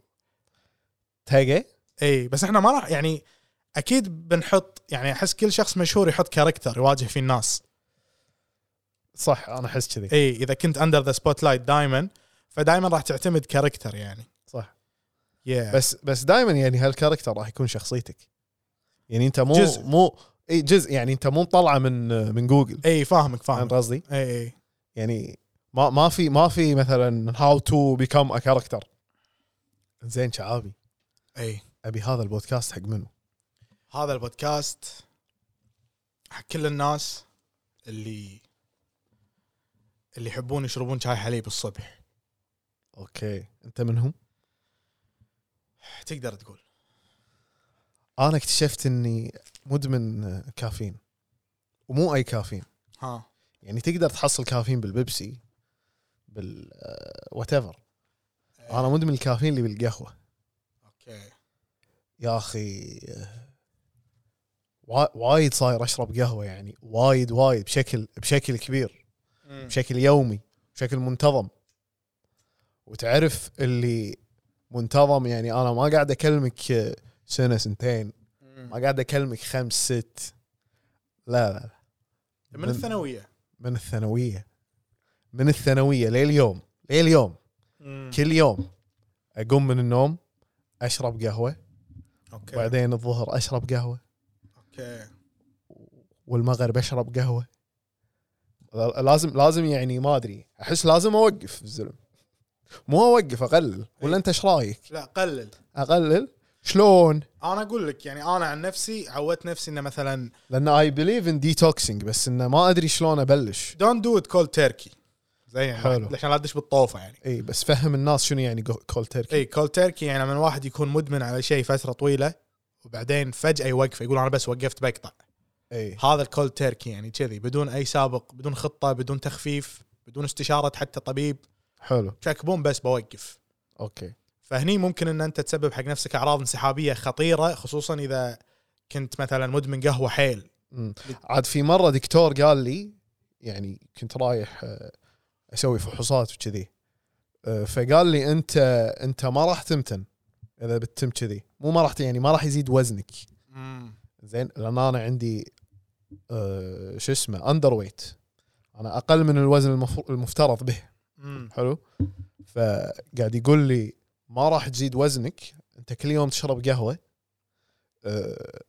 S2: تاجي
S3: اي بس احنا ما راح يعني اكيد بنحط يعني احس كل شخص مشهور يحط كاركتر يواجه فيه الناس
S2: صح انا احس كذي
S3: اي اذا إيه، كنت اندر ذا سبوت لايت دائما فدائما راح تعتمد كاركتر يعني
S2: صح
S3: yeah.
S2: بس بس دائما يعني هالكاركتر راح يكون شخصيتك يعني انت مو
S3: جزء.
S2: مو اي جزء يعني انت مو مطلعه من من جوجل
S3: اي إيه، فاهمك إيه،
S2: فاهم
S3: فاهمك
S2: قصدي؟
S3: اي اي
S2: يعني ما ما في ما في مثلا هاو تو بيكم ا كاركتر زين شعابي
S3: اي
S2: ابي هذا البودكاست حق منو؟
S3: إيه، هذا البودكاست حق كل الناس اللي اللي يحبون يشربون شاي حليب الصبح
S2: اوكي انت منهم؟
S3: تقدر تقول
S2: انا اكتشفت اني مدمن آه، كافيين ومو اي كافيين
S3: ها
S2: يعني تقدر تحصل كافيين بالبيبسي بال وات ايفر انا مدمن الكافيين اللي بالقهوه
S3: اوكي
S2: يا اخي آه، وا- وايد صاير اشرب قهوه يعني وايد وايد بشكل بشكل كبير بشكل يومي بشكل منتظم وتعرف اللي منتظم يعني انا ما قاعد اكلمك آه، سنه سنتين ما قاعد اكلمك خمس ست لا لا لا.
S3: من الثانويه
S2: من الثانويه من الثانويه لليوم لليوم كل يوم اقوم من النوم اشرب قهوه
S3: اوكي
S2: وبعدين الظهر اشرب قهوه
S3: اوكي
S2: والمغرب اشرب قهوه لازم لازم يعني ما ادري احس لازم اوقف الزلم مو اوقف اقلل ولا انت ايش رايك؟
S3: لا قلل
S2: اقلل شلون؟
S3: انا اقول لك يعني انا عن نفسي عودت نفسي انه مثلا
S2: لان اي بليف ان ديتوكسينج بس انه ما ادري شلون ابلش
S3: دونت دو ات كولد تركي زي يعني
S2: حلو.
S3: عشان لا تدش بالطوفه يعني
S2: اي بس فهم الناس شنو يعني كول تركي
S3: اي كولد تركي يعني من واحد يكون مدمن على شيء فتره طويله وبعدين فجاه يوقفه يقول انا بس وقفت بقطع
S2: اي
S3: هذا الكولد تركي يعني كذي بدون اي سابق بدون خطه بدون تخفيف بدون استشاره حتى طبيب
S2: حلو
S3: شكبون بس بوقف
S2: اوكي
S3: فهني ممكن ان انت تسبب حق نفسك اعراض انسحابيه خطيره خصوصا اذا كنت مثلا مدمن قهوه حيل
S2: أمم. عاد في مره دكتور قال لي يعني كنت رايح آه، اسوي فحوصات وكذي آه، فقال لي انت انت ما راح تمتن اذا بتتم كذي مو ما راح يعني ما راح يزيد وزنك زين لان انا عندي آه، شو اسمه اندر ويت انا اقل من الوزن المفروض- المفترض به
S3: امم
S2: حلو فقاعد يقول لي ما راح تزيد وزنك انت كل يوم تشرب قهوه أه،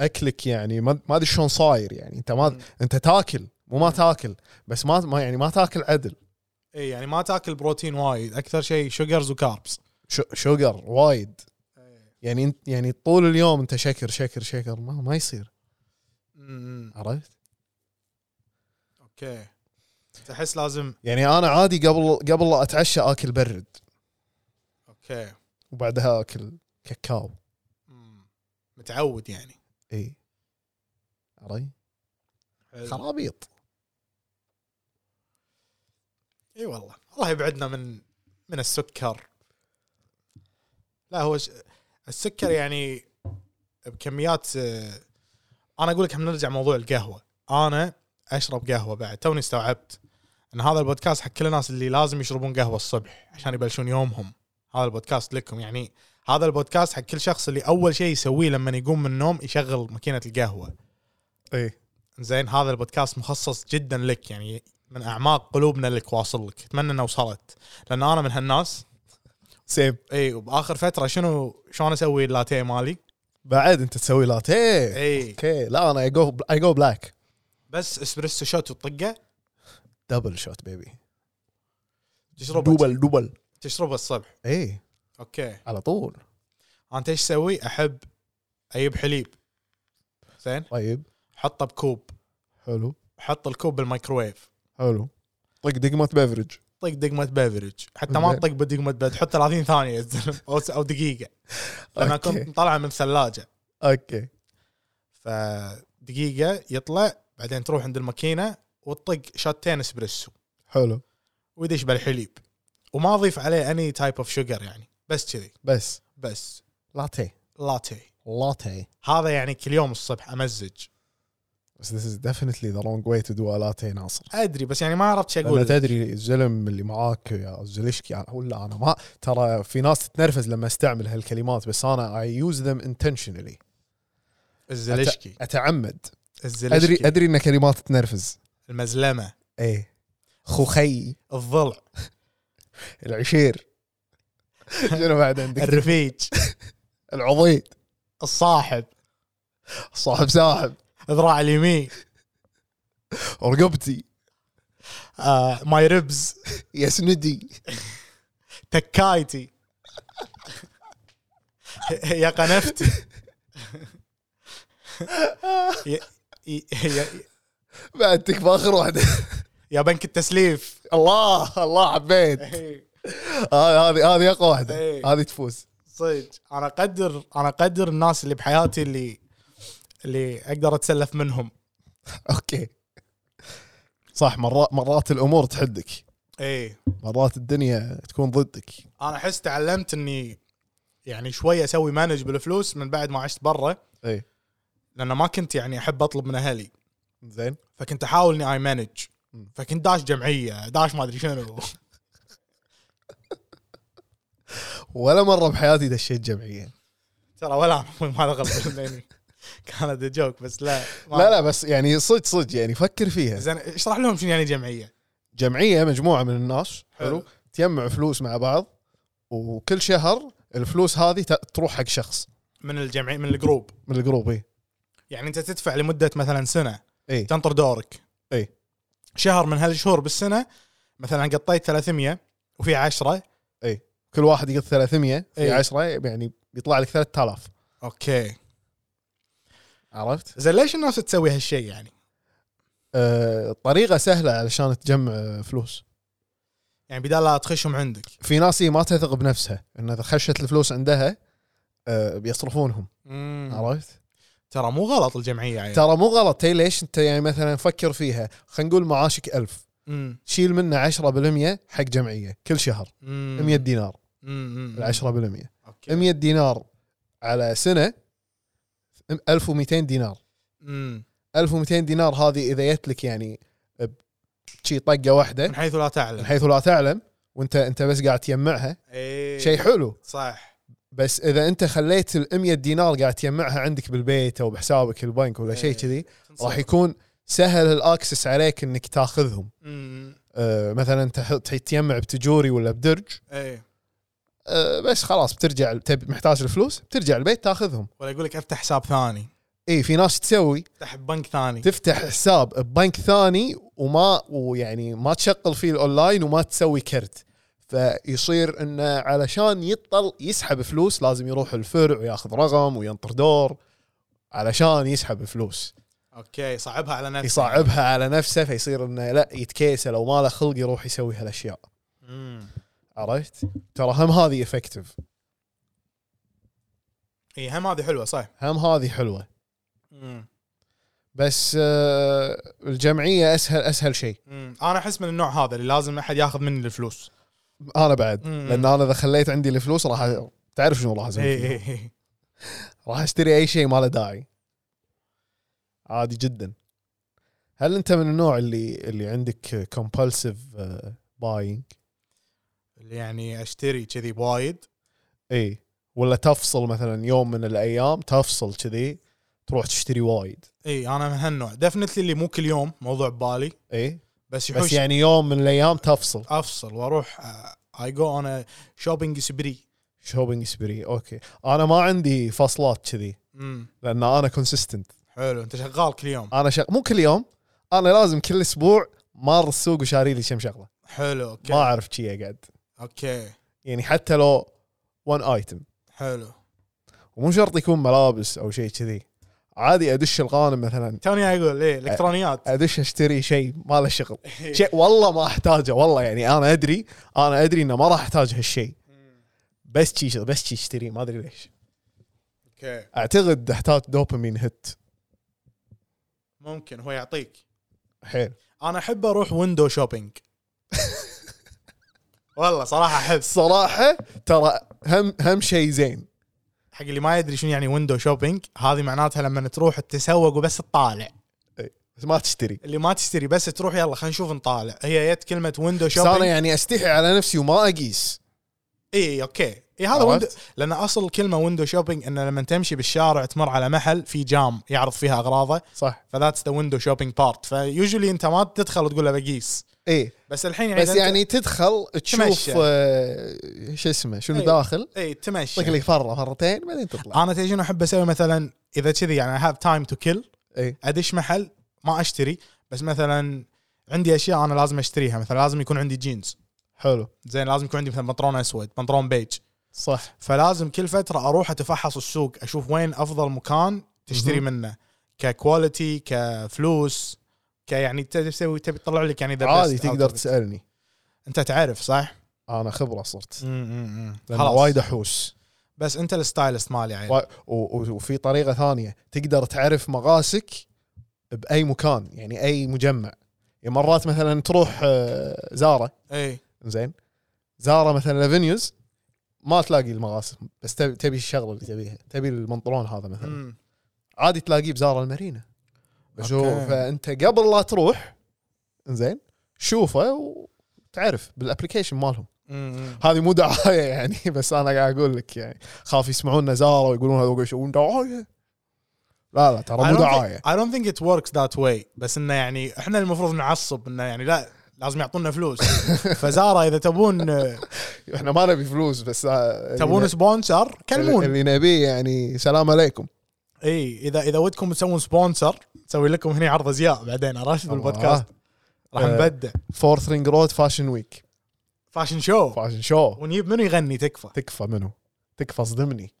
S2: اكلك يعني ما ما ادري شلون صاير يعني انت ما
S3: مم.
S2: انت تاكل مو ما تاكل بس ما ما يعني ما تاكل عدل
S3: اي يعني ما تاكل بروتين وايد اكثر شيء شوجرز وكاربس
S2: شو- شوجر وايد يعني انت يعني طول اليوم انت شكر شكر شكر ما ما يصير
S3: امم
S2: عرفت؟
S3: اوكي تحس لازم
S2: يعني انا عادي قبل قبل لا اتعشى اكل برد
S3: اوكي
S2: وبعدها اكل كاكاو
S3: مم. متعود يعني
S2: اي عرفت؟ خرابيط
S3: اي والله الله يبعدنا من من السكر لا هو ش... السكر يعني بكميات آه، انا اقول لك احنا نرجع موضوع القهوه انا اشرب قهوه بعد توني استوعبت ان هذا البودكاست حق كل الناس اللي لازم يشربون قهوه الصبح عشان يبلشون يومهم هذا البودكاست لكم يعني هذا البودكاست حق كل شخص اللي اول شيء يسويه لما يقوم من النوم يشغل ماكينه القهوه
S2: اي
S3: زين هذا البودكاست مخصص جدا لك يعني من اعماق قلوبنا لك واصل لك اتمنى انه وصلت لان انا من هالناس
S2: سيب
S3: اي وباخر فتره شنو شلون اسوي اللاتيه مالي
S2: بعد انت تسوي لاتيه
S3: اي
S2: اوكي لا انا اي جو اي جو بلاك
S3: بس اسبريسو شوت وطقه
S2: دبل شوت بيبي
S3: تشربه
S2: دوبل دوبل
S3: تشربه الصبح
S2: اي
S3: اوكي
S2: على طول
S3: انت ايش اسوي احب اجيب حليب زين
S2: طيب
S3: حطه بكوب
S2: حلو
S3: حط الكوب بالميكروويف
S2: حلو طيب، طق دقمه بيفرج
S3: طق دقمه بيفرج حتى ما
S2: زين.
S3: تطق بدقمه بيفرج حط 30 ثانيه [laughs] يا زلمة، او او دقيقه لان
S2: أوكي.
S3: كنت طالعه من الثلاجه
S2: اوكي
S3: فدقيقة يطلع بعدين تروح عند الماكينة وتطق شوتين اسبريسو
S2: حلو
S3: ويدش بالحليب وما اضيف عليه اني تايب اوف شوجر يعني بس كذي
S2: بس
S3: بس
S2: لاتيه
S3: لاتيه
S2: لاتيه
S3: هذا يعني كل يوم الصبح امزج
S2: بس this is definitely the wrong way to do a latte ناصر
S3: ادري بس يعني ما عرفت شو
S2: انا
S3: اقول
S2: تدري الزلم اللي معاك يا زلشكي أنا- ولا انا ما [laughs] ترى في ناس تتنرفز لما استعمل هالكلمات بس انا I use them intentionally
S3: الزلشكي
S2: اتعمد
S3: الزلشكي
S2: ادري ادري ان كلمات تنرفز
S3: المزلمة
S2: ايه خوخي
S3: الضلع
S2: العشير شنو بعد عندك
S3: الرفيج
S2: العضيد
S3: الصاحب
S2: صاحب ساحب
S3: ذراع اليمين
S2: رقبتي
S3: آه، ماي ربز
S2: يسندي
S3: تكايتي يا قنفتي ي- ي- ي-
S2: بعد تكفى اخر واحده
S3: يا بنك التسليف
S2: الله الله حبيت إيه. هذه هذه هذه اقوى واحده
S3: إيه.
S2: هذه تفوز [laughs]
S3: صدق انا اقدر انا اقدر الناس اللي بحياتي اللي اللي اقدر اتسلف منهم
S2: اوكي صح مرات مرات الامور تحدك
S3: اي
S2: مرات الدنيا تكون ضدك
S3: انا احس تعلمت اني يعني شوي اسوي مانج بالفلوس من بعد ما عشت برا
S2: اي
S3: لان ما كنت يعني احب اطلب من اهلي
S2: زين
S3: فكنت احاول اني اي مانج فكنت داش جمعيه داش ما ادري شنو
S2: ولا مره بحياتي دشيت جمعيه
S3: ترى ولا ما غلط مني [laughs] كانت جوك بس لا ما-
S2: لا لا بس يعني صدق صدق يعني فكر فيها
S3: زين اشرح لهم شنو يعني جمعيه
S2: جمعيه مجموعه من الناس
S3: حلو.
S2: حلو تجمع فلوس مع بعض وكل شهر الفلوس هذه ت- تروح حق شخص
S3: من الجمعيه من الجروب
S2: من الجروب إيه. اي
S3: يعني انت تدفع لمده مثلا سنه
S2: اي
S3: تنطر دورك
S2: إي.
S3: شهر من هالشهور بالسنه مثلا قطيت 300 وفي 10
S2: كل واحد يقط 300
S3: إي.
S2: في 10 يعني بيطلع لك 3000
S3: اوكي
S2: عرفت؟
S3: زين ليش الناس تسوي هالشيء يعني؟
S2: أه طريقه سهله علشان تجمع آه، فلوس
S3: يعني بدال لا تخشهم عندك
S2: في ناس هي ما تثق بنفسها ان اذا خشت الفلوس عندها أه بيصرفونهم عرفت؟
S3: ترى مو غلط الجمعيه يعني
S2: ترى مو غلط هي ليش انت يعني مثلا فكر فيها خلينا نقول معاشك ألف
S3: مم.
S2: شيل منه 10% حق جمعيه كل شهر
S3: مم.
S2: 100 دينار
S3: مم. مم.
S2: ال 10%
S3: اوكي
S2: 100 دينار على سنه 1200 دينار
S3: مم.
S2: 1200 دينار هذه اذا جت لك يعني ب- شي طقه واحده
S3: من حيث لا
S2: من
S3: تعلم
S2: حيث لا تعلم وانت انت بس قاعد تجمعها
S3: ايه
S2: شيء حلو
S3: صح
S2: بس اذا انت خليت ال 100 دينار قاعد تجمعها عندك بالبيت او بحسابك البنك ولا شيء
S3: إيه.
S2: كذي راح يكون سهل الاكسس عليك انك تاخذهم
S3: مم.
S2: أه مثلا تح- تح- تجمع بتجوري ولا بدرج
S3: ايه
S2: أه بس خلاص بترجع تب- محتاج الفلوس بترجع البيت تاخذهم
S3: ولا يقول لك افتح حساب ثاني
S2: اي إيه، في ناس تسوي
S3: افتح بنك ثاني
S2: تفتح حساب ببنك ثاني وما ويعني ما تشغل فيه الاونلاين وما تسوي كرت فيصير انه علشان يطل يسحب فلوس لازم يروح الفرع وياخذ رقم وينطر دور علشان يسحب فلوس
S3: اوكي صعبها على نفسك
S2: يصعبها على نفسه فيصير انه لا يتكيسل او ما له خلق يروح يسوي هالاشياء
S3: مم.
S2: عرفت؟ ترى هم هذه افكتيف
S3: اي هم هذه حلوه صح
S2: هم هذه حلوه
S3: مم.
S2: بس آه، الجمعيه اسهل اسهل شيء
S3: مم. انا احس من النوع هذا اللي لازم احد ياخذ مني الفلوس
S2: انا بعد
S3: مم.
S2: لان انا اذا خليت عندي الفلوس راح أ- تعرف شنو راح اسوي
S3: إي
S2: فيه.
S3: إي إي.
S2: راح اشتري اي شيء ما له داعي عادي جدا هل انت من النوع اللي اللي عندك آه، كومبالسيف باينج
S3: اللي يعني اشتري كذي وايد
S2: اي إيه. ولا تفصل مثلا يوم من الايام تفصل كذي تروح تشتري وايد
S3: اي انا من هالنوع دفنتلي اللي مو كل يوم موضوع ببالي
S2: اي
S3: بس يحوش
S2: إيه.
S3: آه،
S2: بس يعني يوم من الايام تفصل
S3: افصل واروح اي جو انا شوبينج سبري
S2: شوبينج سبري اوكي انا ما عندي فصلات كذي
S3: امم
S2: لان انا كونسيستنت
S3: حلو انت شغال كل يوم
S2: انا شغ... مو كل يوم انا لازم كل اسبوع مار السوق وشاري لي كم شغله
S3: حلو
S2: ما
S3: اوكي
S2: اعرف شي اقعد
S3: اوكي
S2: يعني حتى لو وان ايتم
S3: حلو
S2: ومو شرط يكون ملابس او شيء كذي عادي ادش الغانم مثلا
S3: توني اقول ايه الكترونيات
S2: ادش اشتري شيء ما له شغل شيء والله ما احتاجه والله يعني انا ادري انا ادري انه ما راح احتاج هالشيء بس شي بس شي اشتري ما ادري ليش
S3: اوكي
S2: اعتقد احتاج دوبامين هيت
S3: ممكن هو يعطيك
S2: حيل
S3: انا احب اروح ويندو شوبينج والله صراحه احب
S2: صراحه ترى هم هم شيء زين
S3: حق اللي ما يدري شنو يعني ويندو شوبينج هذه معناتها لما تروح تتسوق وبس تطالع
S2: بس ما تشتري
S3: اللي ما تشتري بس تروح يلا خلينا نشوف نطالع هي جت كلمه ويندو
S2: بس انا
S3: شوبينج
S2: يعني استحي على نفسي وما اقيس
S3: اي اوكي اي هذا
S2: عرفت؟
S3: ويندو لان اصل كلمه ويندو شوبينج انه لما تمشي بالشارع تمر على محل في جام يعرض فيها اغراضه
S2: صح
S3: فذاتس ذا ويندو شوبينج بارت فيوجولي انت ما تدخل وتقول له بقيس
S2: ايه
S3: بس الحين يعني
S2: بس يعني تدخل تشوف
S3: تمشي.
S2: آه، شو اسمه شنو
S3: إيه.
S2: داخل
S3: اي تمشي
S2: يعطيك لك فره مرتين بعدين تطلع
S3: انا تجي شنو احب اسوي مثلا اذا كذي يعني هاف تايم تو كل
S2: اي
S3: ادش محل ما اشتري بس مثلا عندي اشياء انا لازم اشتريها مثلا لازم يكون عندي جينز
S2: حلو
S3: زين لازم يكون عندي مثلا بنطلون اسود بنطلون بيج
S2: صح
S3: فلازم كل فتره اروح اتفحص السوق اشوف وين افضل مكان تشتري منه ككواليتي كفلوس كيعني تبي تسوي تبي تطلع لك يعني ذا
S2: عادي تقدر تسالني
S3: انت تعرف صح؟
S2: انا خبره صرت لأن
S3: خلاص
S2: وايد احوس
S3: بس انت الستايلست مالي يعني
S2: وا- و- و- وفي طريقه ثانيه تقدر تعرف مغاسك باي مكان يعني اي مجمع يعني مرات مثلا تروح آه، زاره
S3: اي
S2: زين زاره مثلا افنيوز ما تلاقي المغاسل بس تبي تبي الشغله اللي تبيها تبي البنطلون هذا مثلا
S3: مم.
S2: عادي تلاقيه بزار المارينا شوف
S3: أوكي.
S2: فانت قبل لا تروح زين شوفه وتعرف بالابلكيشن مالهم
S3: مم.
S2: هذه مو دعايه [laughs] يعني بس انا قاعد اقول لك يعني خاف يسمعونا زاره ويقولون هذا وقش- وين دعايه لا لا ترى مو دعايه
S3: I don't think it works that way بس انه يعني احنا المفروض نعصب انه يعني لا لازم
S2: [laughs]
S3: يعطونا فلوس فزاره اذا تبون
S2: احنا ما نبي فلوس بس آه،
S3: تبون
S2: اللي-
S3: سبونسر كلمون
S2: اللي نبيه يعني سلام عليكم
S3: اي اذا اذا ودكم تسوون سبونسر نسوي لكم هنا عرض ازياء بعدين عرفت بالبودكاست راح
S2: آه.
S3: نبدع
S2: فورث رينج رود فاشن ويك
S3: فاشن شو
S2: فاشن شو
S3: ونجيب منو يغني تكفى
S2: تكفى منه تكفى صدمني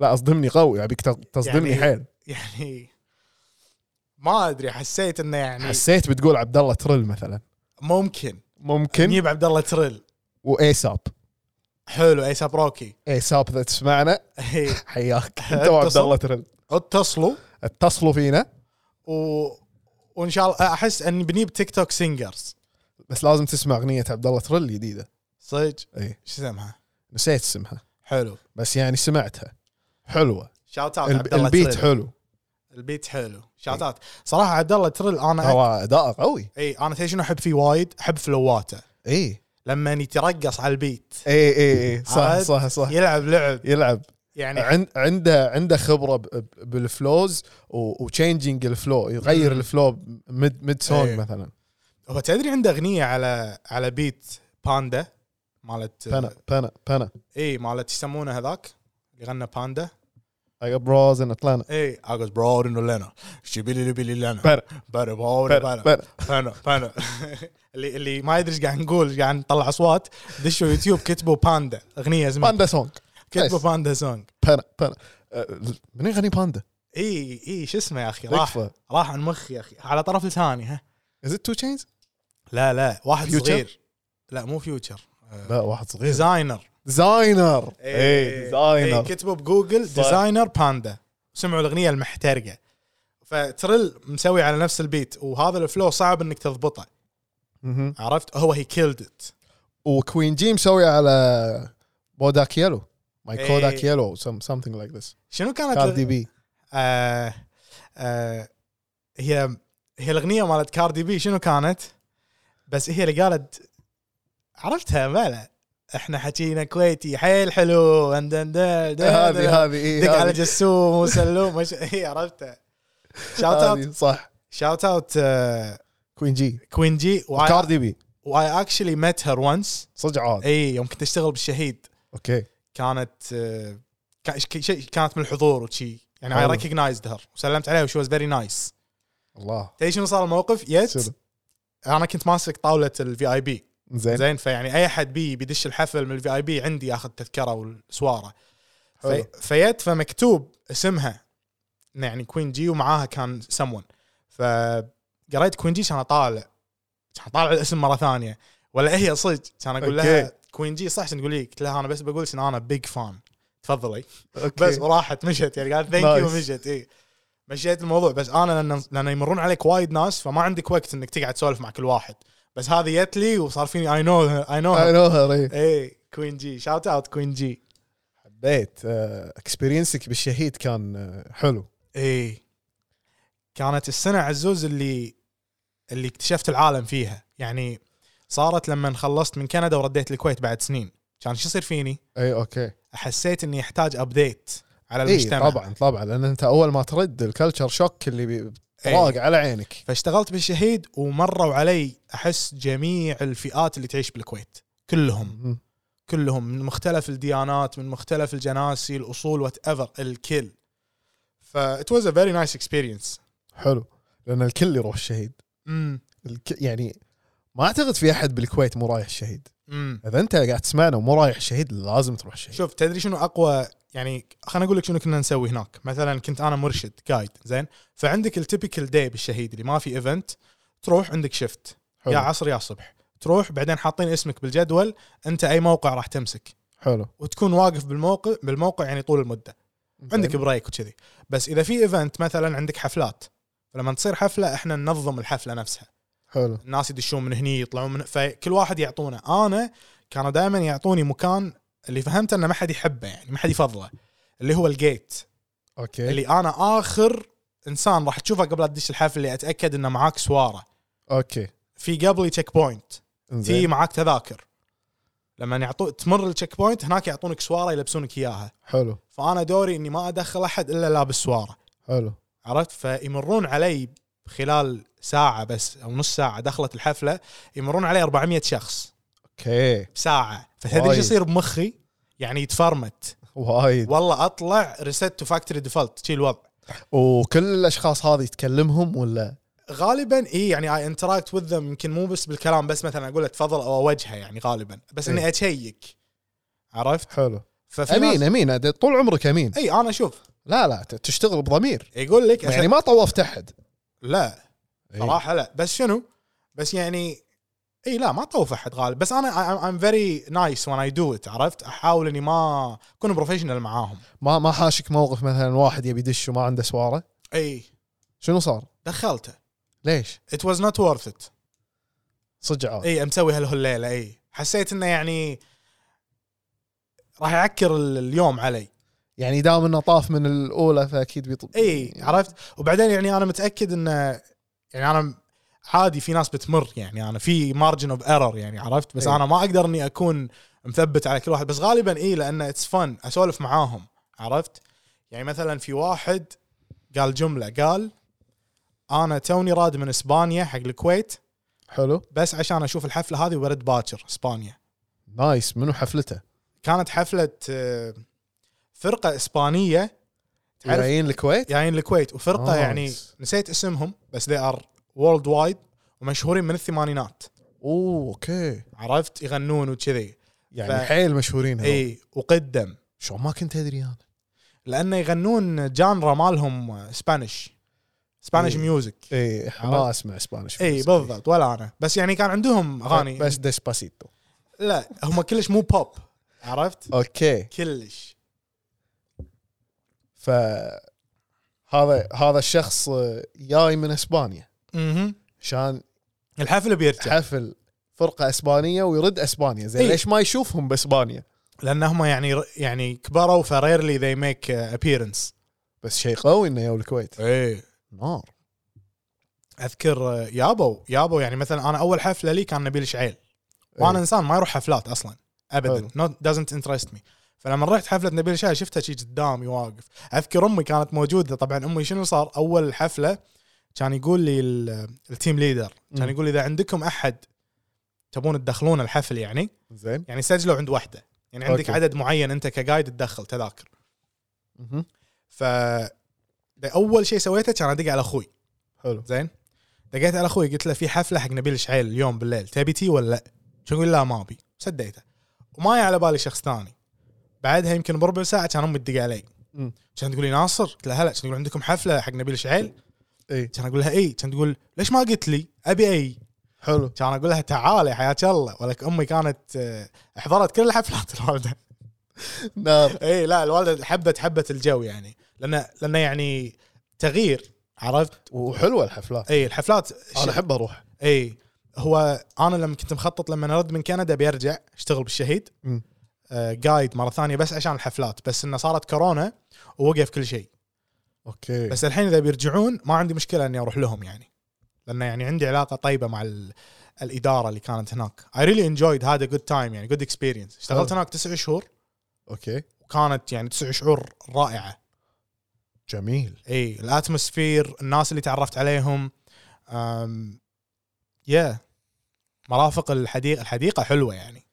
S2: لا اصدمني قوي ابيك تص- تصدمني
S3: يعني-
S2: حيل
S3: يعني ما ادري حسيت انه يعني
S2: حسيت بتقول عبد الله ترل مثلا
S3: ممكن
S2: ممكن
S3: نجيب عبد الله تريل
S2: وايساب
S3: حلو ايسا بروكي
S2: ايساب اذا تسمعنا
S3: [laughs]
S2: [laughs]
S3: إي. [laughs]
S2: حياك انت وعبد
S3: اتصل.
S2: الله ترل
S3: اتصلوا
S2: اتصلوا فينا
S3: و... وان شاء الله احس اني بنجيب تيك توك سينجرز
S2: بس لازم تسمع اغنيه عبد الله ترل الجديده
S3: صدق
S2: اي
S3: شو اسمها
S2: إيه. نسيت اسمها
S3: حلو
S2: بس يعني سمعتها حلوه
S3: شاوت اوت عبد
S2: الب-
S3: الله
S2: البيت
S3: تريل
S2: حلو إيه.
S3: البيت حلو شاوت اوت صراحه عبد الله تريل انا
S2: هو اداء قوي إيه.
S3: اي انا تدري شنو احب فيه وايد احب فلواته
S2: اي
S3: لما يترقص على البيت
S2: اي اي اي إيه، صح
S3: عاد
S2: صح صح
S3: يلعب لعب
S2: يلعب
S3: يعني
S2: عند عنده عنده خبره ب- ب- بالفلوز وتشينجينج الفلو يغير
S3: مم.
S2: الفلو ميد ميد سونج
S3: إيه.
S2: مثلا
S3: هو تدري عنده اغنيه على على بيت باندا مالت
S2: بنا بنا بنا
S3: اي مالت يسمونه هذاك اللي غنى باندا
S2: اي بروز ان اتلانا
S3: اي I was proud in Atlanta شبيلي لبيلي لنا
S2: بنا
S3: بنا بنا
S2: بنا
S3: بنا
S2: بنا
S3: بنا بنا [laughs] اللي اللي ما يدري ايش قاعد نقول إيش قاعد نطلع اصوات دشوا يوتيوب كتبوا باندا اغنيه اسمها
S2: باندا سونج
S3: كتبوا
S2: بس.
S3: باندا سونج
S2: بنا بنا أه، من يغني باندا؟
S3: اي اي شو اسمه يا اخي راح
S2: تكفى
S3: راح عن مخي يا اخي على طرف لساني ها
S2: از تو تشينز؟
S3: لا لا واحد
S2: Future؟ إيه.
S3: صغير لا مو فيوتشر
S2: لا واحد صغير
S3: ديزاينر
S2: ديزاينر اي
S3: إيه،
S2: ديزاينر
S3: كتبوا بجوجل
S2: صح.
S3: ديزاينر باندا سمعوا الاغنيه المحترقه فترل مسوي على نفس البيت وهذا الفلو صعب انك تضبطه
S2: مهم.
S3: عرفت هو هي كيلد ات
S2: وكوين جي مسوي على بوداك يلو ماي
S3: إيه.
S2: كوداك يلو something like this
S3: شنو كانت
S2: كاردي بي
S3: آه آه هي هي الاغنيه مالت كاردي بي شنو كانت بس هي اللي قالت عرفتها مالا احنا حكينا كويتي حيل حلو دن- دن- دن- دن-
S2: هذه هذه إيه،
S3: دق
S2: هذه.
S3: على جسوم وسلوم وش- [laughs] هي عرفتها شاوت اوت
S2: هذه، صح
S3: شاوت اوت آه،
S2: كوين جي
S3: كوين جي
S2: كاردي بي
S3: واي اكشلي ميت هير وانس
S2: صدق عاد
S3: اي يوم كنت اشتغل بالشهيد
S2: اوكي
S3: كانت آه، كا- ش- شي- كانت من الحضور وشي يعني اي
S2: حلو.
S3: ريكوجنايزد هير وسلمت عليها وشي واز فيري نايس
S2: الله
S3: تدري شنو صار الموقف
S2: شنو؟ إيه.
S3: يت انا كنت ماسك طاوله الفي اي بي
S2: زين
S3: زين فيعني اي احد بي بيدش الحفل من الفي اي بي عندي ياخذ تذكره والسواره في
S2: حلو.
S3: فيت فمكتوب اسمها إنه يعني كوين جي ومعاها كان سمون فقريت كوين جي كان اطالع كان اطالع الاسم مره ثانيه ولا هي صدق كان اقول لها
S2: أوكي.
S3: كوين جي صح عشان تقول لي قلت لها انا بس بقول ان انا بيج فان تفضلي
S2: اوكي
S3: بس وراحت مشت يعني قالت ثانك
S2: Nice.
S3: يو ومشت اي إيه. مشيت الموضوع بس انا لان لان يمرون عليك وايد ناس فما عندك وقت انك تقعد تسولف مع كل واحد بس هذه جت لي وصار فيني اي نو اي
S2: اي
S3: نو
S2: نو هير
S3: اي كوين جي شاوت اوت كوين جي
S2: حبيت اكسبيرينسك بالشهيد كان آه، حلو
S3: اي إيه. كانت السنه عزوز اللي اللي اكتشفت العالم فيها يعني صارت لما خلصت من كندا ورديت الكويت بعد سنين كان شو يصير فيني
S2: اي اوكي
S3: حسيت اني احتاج ابديت على
S2: اي
S3: المجتمع
S2: طبعا طبعا لان انت اول ما ترد الكلتشر شوك اللي بي-
S3: إي.
S2: طاق على عينك
S3: فاشتغلت بالشهيد ومروا علي احس جميع الفئات اللي تعيش بالكويت كلهم
S2: مهم.
S3: كلهم من مختلف الديانات من مختلف الجناسي الاصول وات ايفر الكل ف it was a very nice experience
S2: حلو لان الكل يروح الشهيد
S3: امم
S2: الك... يعني ما اعتقد في احد بالكويت مو رايح الشهيد
S3: امم
S2: اذا انت قاعد تسمعنا ومو رايح الشهيد لازم تروح الشهيد
S3: شوف تدري شنو اقوى يعني خليني اقول لك شنو كنا نسوي هناك مثلا كنت انا مرشد جايد زين فعندك التيبيكال داي بالشهيد اللي ما في ايفنت تروح عندك شفت
S2: حلو.
S3: يا عصر يا صبح تروح بعدين حاطين اسمك بالجدول انت اي موقع راح تمسك
S2: حلو
S3: وتكون واقف بالموقع بالموقع يعني طول المده عندك بريك وكذي بس اذا في ايفنت مثلا عندك حفلات فلما تصير حفله احنا ننظم الحفله نفسها
S2: حلو
S3: الناس يدشون من هني يطلعون من فكل واحد يعطونه انا كانوا دائما يعطوني مكان اللي فهمت انه ما حد يحبه يعني ما حد يفضله اللي هو الجيت
S2: اوكي
S3: اللي انا اخر انسان راح تشوفه قبل لا تدش الحفل اللي اتاكد انه معاك سواره
S2: اوكي
S3: في قبلي تشيك بوينت في
S2: انزين
S3: معاك تذاكر لما يعطو تمر التشيك بوينت هناك يعطونك سواره يلبسونك اياها
S2: حلو
S3: فانا دوري اني ما ادخل احد الا لابس سواره
S2: حلو
S3: عرفت فيمرون علي خلال ساعه بس او نص ساعه دخلت الحفله يمرون علي 400 شخص
S2: اوكي
S3: بساعه فتدري
S2: وايد.
S3: ايش يصير بمخي يعني يتفرمت
S2: وايد
S3: والله اطلع ريست تو فاكتوري ديفولت شي الوضع
S2: وكل الاشخاص هذه تكلمهم ولا
S3: غالبا اي يعني اي انتراكت وذ ذم يمكن مو بس بالكلام بس مثلا اقول له تفضل او اوجهه يعني غالبا بس اني
S2: إيه.
S3: اشيك عرفت
S2: حلو
S3: ففي
S2: امين
S3: ناس-
S2: امين أد- طول عمرك امين
S3: اي انا اشوف
S2: لا لا ت- تشتغل بضمير
S3: يقول لك
S2: يعني ما طوفت احد
S3: لا
S2: إيه.
S3: صراحه لا بس شنو بس يعني اي لا ما طوف احد غالب بس انا ام فيري نايس وان اي دو ات عرفت احاول اني ما اكون بروفيشنال معاهم
S2: ما ما حاشك موقف مثلا واحد يبي يدش وما عنده سواره
S3: اي
S2: شنو صار؟
S3: دخلته
S2: ليش؟
S3: ات واز نوت ورث ات
S2: صدق عاد
S3: اي مسوي هالهليله اي حسيت انه يعني راح يعكر ال- اليوم علي
S2: يعني دام انه طاف من الاولى فاكيد بيطب
S3: اي عرفت وبعدين يعني انا متاكد انه يعني انا عادي في ناس بتمر يعني انا في مارجن اوف ايرور يعني عرفت بس
S2: إي.
S3: انا ما اقدر اني اكون مثبت على كل واحد بس غالبا اي لان اتس فن اسولف معاهم عرفت يعني مثلا في واحد قال جمله قال انا توني راد من اسبانيا حق الكويت
S2: حلو
S3: بس عشان اشوف الحفله هذه وبرد باكر اسبانيا
S2: نايس منو حفلته؟
S3: كانت حفله آه، فرقه اسبانيه تعرف-
S2: جايين الكويت؟
S3: جايين الكويت وفرقه
S2: آه.
S3: يعني نسيت اسمهم بس they are world wide ومشهورين من الثمانينات
S2: اوه اوكي
S3: عرفت يغنون وكذي
S2: يعني
S3: ف-
S2: حيل مشهورين هذول
S3: اي وقدم
S2: شو ما كنت ادري انا
S3: لانه يغنون جانرا مالهم سبانيش سبانيش
S2: إي.
S3: ميوزك
S2: اي ما
S3: عرفت؟
S2: اسمع اسبانيش
S3: اي بالضبط ولا انا بس يعني كان عندهم اغاني
S2: بس ديسباسيتو
S3: لا هم كلش مو بوب عرفت
S2: اوكي
S3: كلش
S2: ف هذا هذا الشخص آه، جاي من اسبانيا
S3: اها
S2: عشان
S3: الحفل بيرجع
S2: حفل فرقه اسبانيه ويرد اسبانيا زين
S3: إيه.
S2: ليش ما يشوفهم باسبانيا
S3: لان هم يعني يعني كبروا فريرلي ذي ميك ابييرنس
S2: بس شيء قوي انه يو الكويت
S3: اي
S2: نار
S3: اذكر آه، يابو يابو يعني مثلا انا اول حفله لي كان نبيل شعيل
S2: إيه.
S3: وانا انسان ما يروح حفلات اصلا ابدا نوت دازنت انترست مي فلما رحت حفله نبيل شعيل شفتها شي قدامي واقف اذكر امي كانت موجوده طبعا امي شنو صار اول حفله كان يقول لي ال- التيم ليدر كان
S2: مم.
S3: يقول لي اذا عندكم احد تبون تدخلون الحفل يعني
S2: زين
S3: يعني سجلوا عند وحده يعني عندك
S2: أوكي.
S3: عدد معين انت كجايد تدخل تذاكر
S2: مهم.
S3: ف ده اول شيء سويته كان ادق على اخوي
S2: حلو
S3: زين دقيت على اخوي قلت له في حفله حق نبيل شعيل اليوم بالليل تبي تي ولا لا؟ شو يقول لا ما ابي سديته وما على بالي شخص ثاني بعدها يمكن بربع ساعه كان امي تدق علي
S2: مم.
S3: كان تقول لي ناصر قلت لها هلا كان يقول عندكم حفله حق نبيل شعيل
S2: اي
S3: كان اقول لها اي كان تقول ليش ما قلت لي ابي اي
S2: حلو
S3: كان اقول لها تعالي حياك الله ولك امي كانت آه، حضرت كل الحفلات [laughs] الوالده
S2: نار
S3: اي لا الوالده حبت حبت الجو يعني لان لان يعني تغيير عرفت
S2: وحلوه الحفلات
S3: اي الحفلات
S2: انا احب اروح
S3: اي هو انا لما كنت مخطط لما نرد من كندا بيرجع اشتغل بالشهيد
S2: مم.
S3: آه جايد مره ثانيه بس عشان الحفلات بس انه صارت كورونا ووقف كل شيء
S2: اوكي بس
S3: بس الحين اذا بيرجعون ما عندي مشكله اني اروح لهم يعني لانه يعني عندي علاقه طيبه مع ال... الاداره اللي كانت هناك اي ريلي انجويد هذا جود تايم يعني جود اكسبيرينس اشتغلت
S2: حلو.
S3: هناك تسع شهور
S2: اوكي
S3: وكانت يعني تسع شهور رائعه
S2: جميل
S3: اي الاتموسفير الناس اللي تعرفت عليهم أم... يا مرافق الحديقه الحديقه حلوه يعني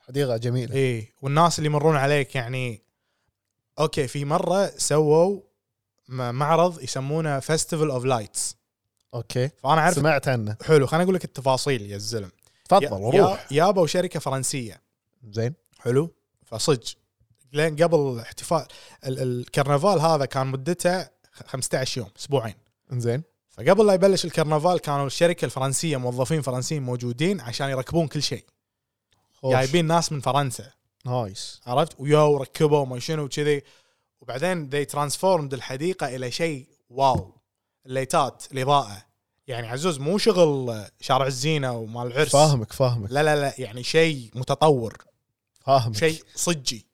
S2: حديقه جميله
S3: اي والناس اللي يمرون عليك يعني اوكي في مره سووا م- معرض يسمونه فيستيفال اوف لايتس
S2: اوكي
S3: فانا عارف
S2: سمعت عنه
S3: حلو خليني اقول لك التفاصيل يا الزلم
S2: تفضل روح
S3: يابا شركه فرنسيه
S2: زين
S3: حلو فصج لين قبل احتفال ال- الكرنفال هذا كان مدته 15 يوم اسبوعين
S2: انزين
S3: فقبل لا يبلش الكرنفال كانوا الشركه الفرنسيه موظفين فرنسيين موجودين عشان يركبون كل شيء
S2: خوش.
S3: جايبين ناس من فرنسا
S2: نايس
S3: عرفت ويو ركبوا وما شنو وكذي وبعدين they transformed الحديقه الى شيء واو الليتات الاضاءه يعني عزوز مو شغل شارع الزينه ومال العرس
S2: فاهمك فاهمك
S3: لا لا لا يعني شيء متطور
S2: فاهمك [laughs]
S3: شيء صجي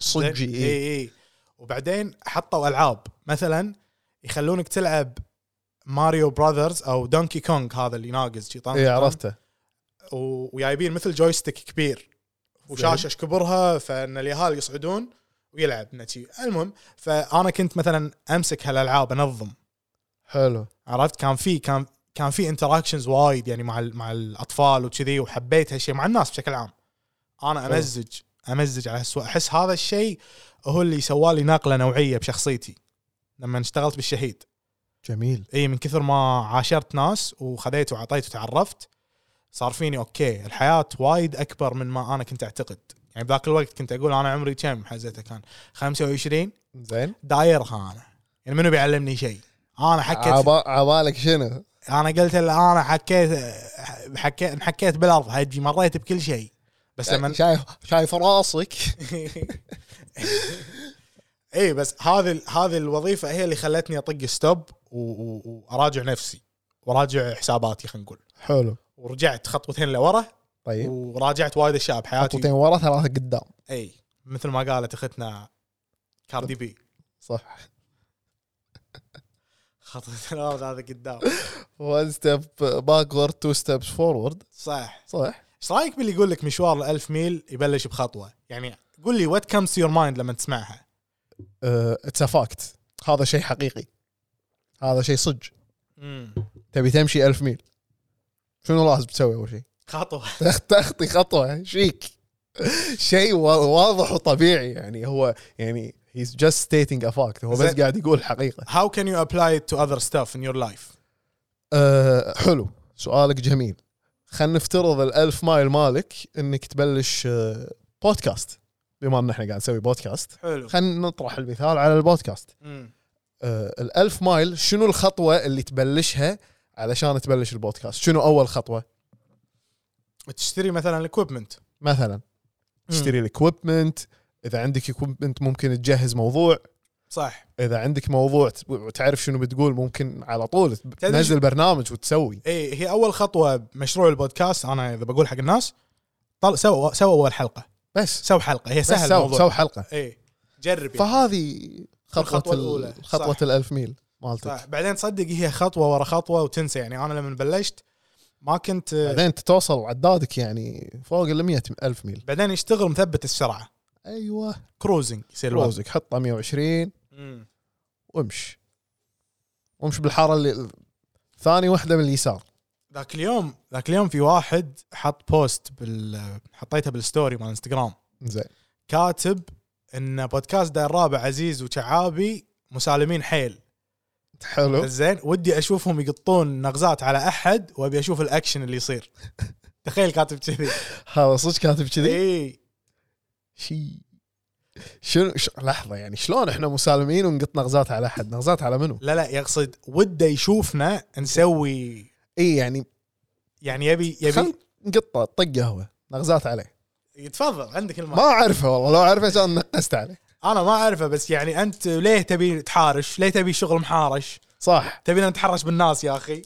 S2: صجي
S3: اي
S2: إيه.
S3: اي وبعدين حطوا العاب مثلا يخلونك تلعب ماريو براذرز او دونكي كونغ هذا اللي ناقز شي طن-
S2: اي
S3: طن.
S2: إيه، عرفته
S3: و- وجايبين مثل جويستيك كبير وشاشه ايش كبرها فان اليهال يصعدون ويلعب نتي المهم فانا كنت مثلا امسك هالالعاب انظم
S2: حلو
S3: عرفت كان في كان كان في انتراكشنز وايد يعني مع ال- مع الاطفال وكذي وحبيت هالشيء مع الناس بشكل عام انا
S2: حلو.
S3: امزج امزج على هالسوء احس هذا الشيء هو اللي سوالي نقله نوعيه بشخصيتي لما اشتغلت بالشهيد
S2: جميل
S3: اي من كثر ما عاشرت ناس وخذيت وعطيت وتعرفت صار فيني اوكي الحياه وايد اكبر من ما انا كنت اعتقد يعني بذاك الوقت كنت اقول انا عمري كم حزتها كان 25
S2: زين
S3: دايرها انا يعني منو بيعلمني شيء انا حكيت
S2: عبا- عبالك شنو؟
S3: انا قلت له انا حكيت حكيت انحكيت بالارض هجي مريت بكل شيء بس
S2: يعني
S3: لما [laughs]
S2: شايف شايف راسك
S3: اي إيه، بس هذه ال- هذه الوظيفه هي اللي خلتني اطق ستوب و- و- واراجع نفسي وراجع حساباتي خلينا نقول
S2: حلو
S3: ورجعت خطوتين لورا
S2: طيب
S3: وراجعت وايد اشياء
S2: خطوتين
S3: بحياتي
S2: ورا ثلاثه قدام
S3: اي مثل ما قالت اختنا كاردي بي
S2: صح
S3: خطوتين ورا هذا قدام
S2: وان ستيب باكورد تو ستيبس فورورد
S3: صح
S2: صح
S3: ايش رايك باللي يقول لك مشوار الألف ميل يبلش بخطوه يعني قول لي وات كمز يور مايند لما تسمعها
S2: اتس فاكت هذا شيء حقيقي هذا شيء صج
S3: مم.
S2: تبي تمشي ألف ميل شنو لازم تسوي اول شيء؟
S3: خطوه
S2: تخ- تخطي خطوه شيك شيء وا- واضح وطبيعي يعني هو يعني هيز جاست ستيتنج ا فاكت هو بس
S3: زين.
S2: قاعد يقول حقيقه
S3: how can you apply it to other stuff in your life
S2: أه حلو سؤالك جميل خلينا نفترض الألف مايل مالك انك تبلش أه بودكاست بما ان احنا قاعد نسوي بودكاست
S3: حلو
S2: خلينا نطرح المثال على البودكاست
S3: مم.
S2: أه الألف مايل شنو الخطوه اللي تبلشها علشان تبلش البودكاست شنو اول خطوه
S3: تشتري مثلا الاكويبمنت
S2: مثلا تشتري الاكويبمنت اذا عندك اكويبمنت ممكن تجهز موضوع
S3: صح
S2: اذا عندك موضوع تب- تعرف شنو بتقول ممكن على طول تب-
S3: تدري
S2: تنزل
S3: شو-
S2: برنامج وتسوي
S3: اي إيه، هي اول خطوه بمشروع البودكاست انا اذا بقول حق الناس طل سووا سووا اول حلقه
S2: بس
S3: سووا حلقه هي سهل
S2: بس سو,
S3: الموضوع
S2: سو حلقه
S3: اي جرب يعني.
S2: فهذه خطوه
S3: الخطوة
S2: الخطوه
S3: الأولى.
S2: الاولى خطوه
S3: صح.
S2: الألف ميل مالتك
S3: صح. بعدين تصدق هي خطوه ورا خطوه وتنسى يعني انا لما بلشت ما كنت
S2: بعدين انت توصل عدادك يعني فوق ال 100 ألف ميل
S3: بعدين يشتغل مثبت السرعه
S2: ايوه
S3: كروزنج يصير الوضع.
S2: روزك حطه 120
S3: مم.
S2: وامش وامش بالحاره اللي ثاني واحده من اليسار
S3: ذاك اليوم ذاك اليوم في واحد حط بوست بال حطيته بالستوري مال انستغرام
S2: زين
S3: كاتب ان بودكاست داير الرابع عزيز وشعابي مسالمين حيل
S2: حلو
S3: زين ودي اشوفهم يقطون نغزات على احد وابي اشوف الاكشن اللي يصير تخيل كاتب كذي إيه.
S2: هذا صدق كاتب كذي
S3: اي
S2: شي شنو ش... لحظه يعني شلون احنا مسالمين ونقط نغزات على احد نغزات على منو
S3: لا لا يقصد وده يشوفنا نسوي
S2: اي يعني
S3: يعني يبي يبي
S2: خل نقطه طق قهوه نغزات عليه
S3: تفضل عندك
S2: ما
S3: الماء
S2: اعرفه والله لو اعرفه كان نقزت عليه
S3: انا ما اعرفه بس يعني انت ليه تبي تحارش ليه تبي شغل محارش
S2: صح
S3: تبينا نتحرش بالناس يا اخي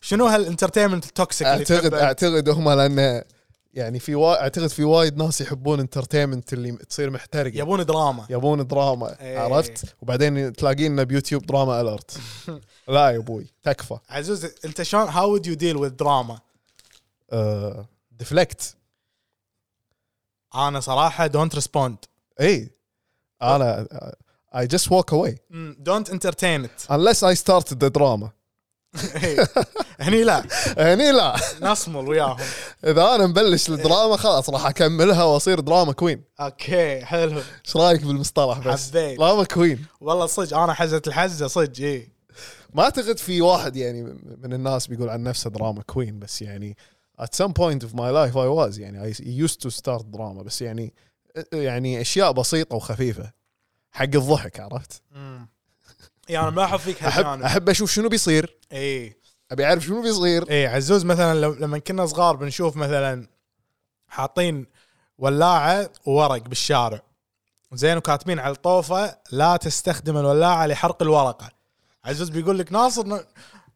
S3: شنو هالانترتينمنت التوكسيك اللي
S2: اعتقد
S3: تحبه؟
S2: اعتقد هم لان يعني في وا... اعتقد في وايد ناس يحبون انترتينمنت اللي تصير محترقه
S3: يبون دراما
S2: يبون دراما
S3: إيه.
S2: عرفت وبعدين تلاقينا بيوتيوب دراما
S3: [laughs]
S2: الرت لا يا ابوي تكفى
S3: عزوز انت شلون هاو ود يو ديل وذ دراما؟
S2: أه... ديفلكت
S3: انا صراحه دونت ريسبوند
S2: اي انا إيه. I just walk away
S3: دونت انترتين [laughs] ات
S2: unless I started the drama
S3: إيه. هني لا
S2: هني لا
S3: نصمل وياهم
S2: اذا انا مبلش الدراما خلاص راح اكملها واصير دراما كوين
S3: اوكي حلو
S2: ايش رايك بالمصطلح بس
S3: حبيت.
S2: دراما كوين
S3: والله صدق انا حزت الحزه صدق إيه. اي
S2: ما اعتقد في واحد يعني من الناس بيقول عن نفسه دراما كوين بس يعني at some point of my life I was يعني I used to start drama بس يعني يعني اشياء بسيطه وخفيفه حق الضحك عرفت؟
S3: يعني انا ملاحظ فيك
S2: احب
S3: هالجانب
S2: احب اشوف شنو بيصير
S3: اي
S2: ابي اعرف شنو بيصير
S3: اي عزوز مثلا لو لما كنا صغار بنشوف مثلا حاطين ولاعه وورق بالشارع زين وكاتبين على الطوفه لا تستخدم الولاعه لحرق الورقه عزوز بيقول لك ناصر ن-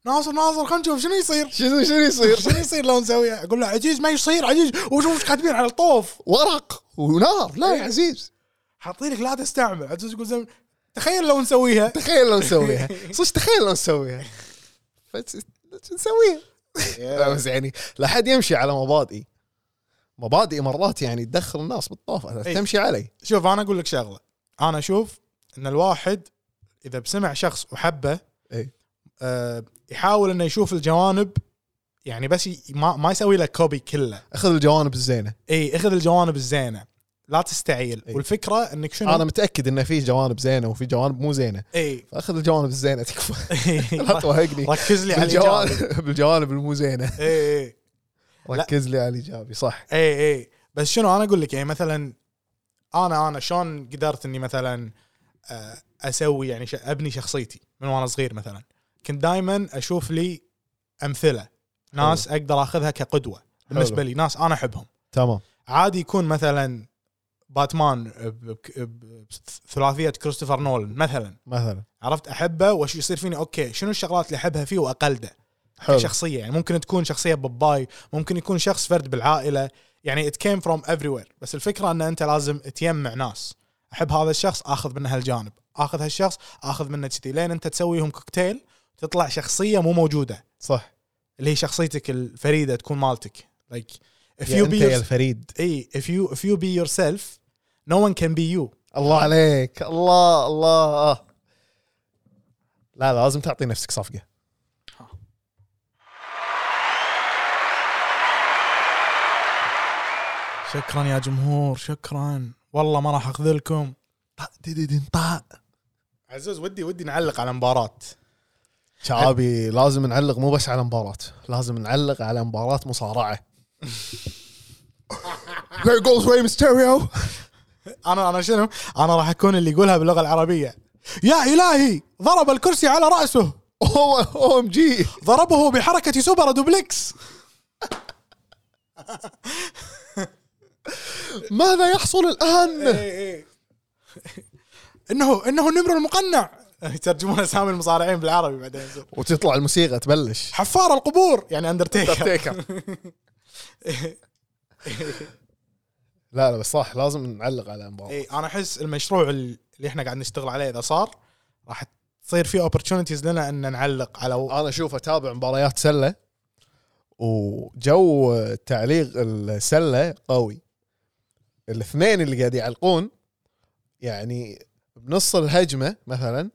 S3: ناصر ناصر خلينا نشوف شنو يصير
S2: شنو شنو يصير؟
S3: شنو يصير لو نسويها اقول له عزيز ما يصير عزيز وشوف ايش كاتبين على الطوف
S2: ورق ونار لا يا عزيز
S3: حاطين لك لا تستعمل عزوز يقول زين تخيل
S2: [laughs]
S3: لو نسويها
S2: تخيل لو نسويها صدق تخيل لو نسويها بس شو نسويها لا بس يعني لا حد يمشي على مبادئي مبادئي مرات يعني تدخل الناس بالطوف أنا
S3: إي.
S2: تمشي علي
S3: شوف انا اقول لك شغله انا اشوف ان الواحد اذا بسمع شخص وحبه
S2: إي.
S3: آه يحاول انه يشوف الجوانب يعني بس ي- ما, ما يسوي لك كوبي كله
S2: اخذ الجوانب الزينه
S3: اي اخذ الجوانب الزينه لا تستعيل
S2: إي.
S3: والفكره انك شنو
S2: انا متاكد انه في جوانب زينه وفي جوانب مو زينه
S3: اي
S2: فاخذ الجوانب الزينه
S3: [laughs]
S2: تكفى [laughs] لا توهقني
S3: ركز لي على الجوانب
S2: بالجوانب [laughs] بالجوانب المو زينه
S3: اي اي لا.
S2: ركز لي على الايجابي صح
S3: اي اي إيه، بس شنو انا اقول لك يعني مثلا انا انا شلون قدرت اني مثلا آه، اسوي يعني ش- ابني شخصيتي من وانا صغير مثلا كنت دائما اشوف لي امثله ناس اقدر اخذها كقدوه بالنسبه
S2: حلو.
S3: لي ناس انا احبهم
S2: تمام
S3: عادي يكون مثلا باتمان بك- ب- بثلاثيه كريستوفر نولان مثلا
S2: مثلا
S3: عرفت احبه وش يصير فيني اوكي شنو الشغلات اللي احبها فيه واقلده
S2: حلو
S3: كشخصيه يعني ممكن تكون شخصيه باباي ممكن يكون شخص فرد بالعائله يعني it came from everywhere بس الفكره ان انت لازم تجمع ناس احب هذا الشخص اخذ منه هالجانب اخذ هالشخص اخذ منه كذي لين انت تسويهم كوكتيل تطلع شخصيه مو موجوده
S2: صح
S3: اللي هي شخصيتك الفريده تكون مالتك like if
S2: يا
S3: you
S2: انت
S3: be
S2: يعني يا
S3: your...
S2: الفريد
S3: اي if you if you be yourself no one can be you
S2: الله عليك الله الله آه. لا لا، لازم تعطي نفسك صفقه
S3: شكرا يا جمهور شكرا والله ما راح اخذلكم
S2: طق، دي- دي- دي، طق.
S3: عزوز ودي ودي نعلق على مباراه
S2: شعابي لازم نعلق مو بس على مباراة لازم نعلق على مباراة مصارعة There goes Rey Mysterio
S3: انا انا شنو؟ انا راح اكون اللي يقولها باللغه العربيه. يا الهي ضرب الكرسي على [laughs] راسه
S2: او ام جي
S3: ضربه بحركه سوبر دوبلكس
S2: ماذا يحصل
S3: إيه.
S2: الآن
S3: انه انه النمر المقنع يترجمون اسامي المصارعين بالعربي بعدين
S2: وتطلع الموسيقى تبلش
S3: حفار القبور يعني اندرتيكر
S2: تيكر لا لا بس صح لازم نعلق على مباراة
S3: اي انا احس إيه، المشروع اللي احنا قاعد نشتغل عليه اذا صار راح تصير فيه opportunities لنا ان نعلق على
S2: انا اشوف اتابع مباريات سله وجو تعليق السله قوي الاثنين اللي قاعد يعلقون يعني بنص الهجمه مثلا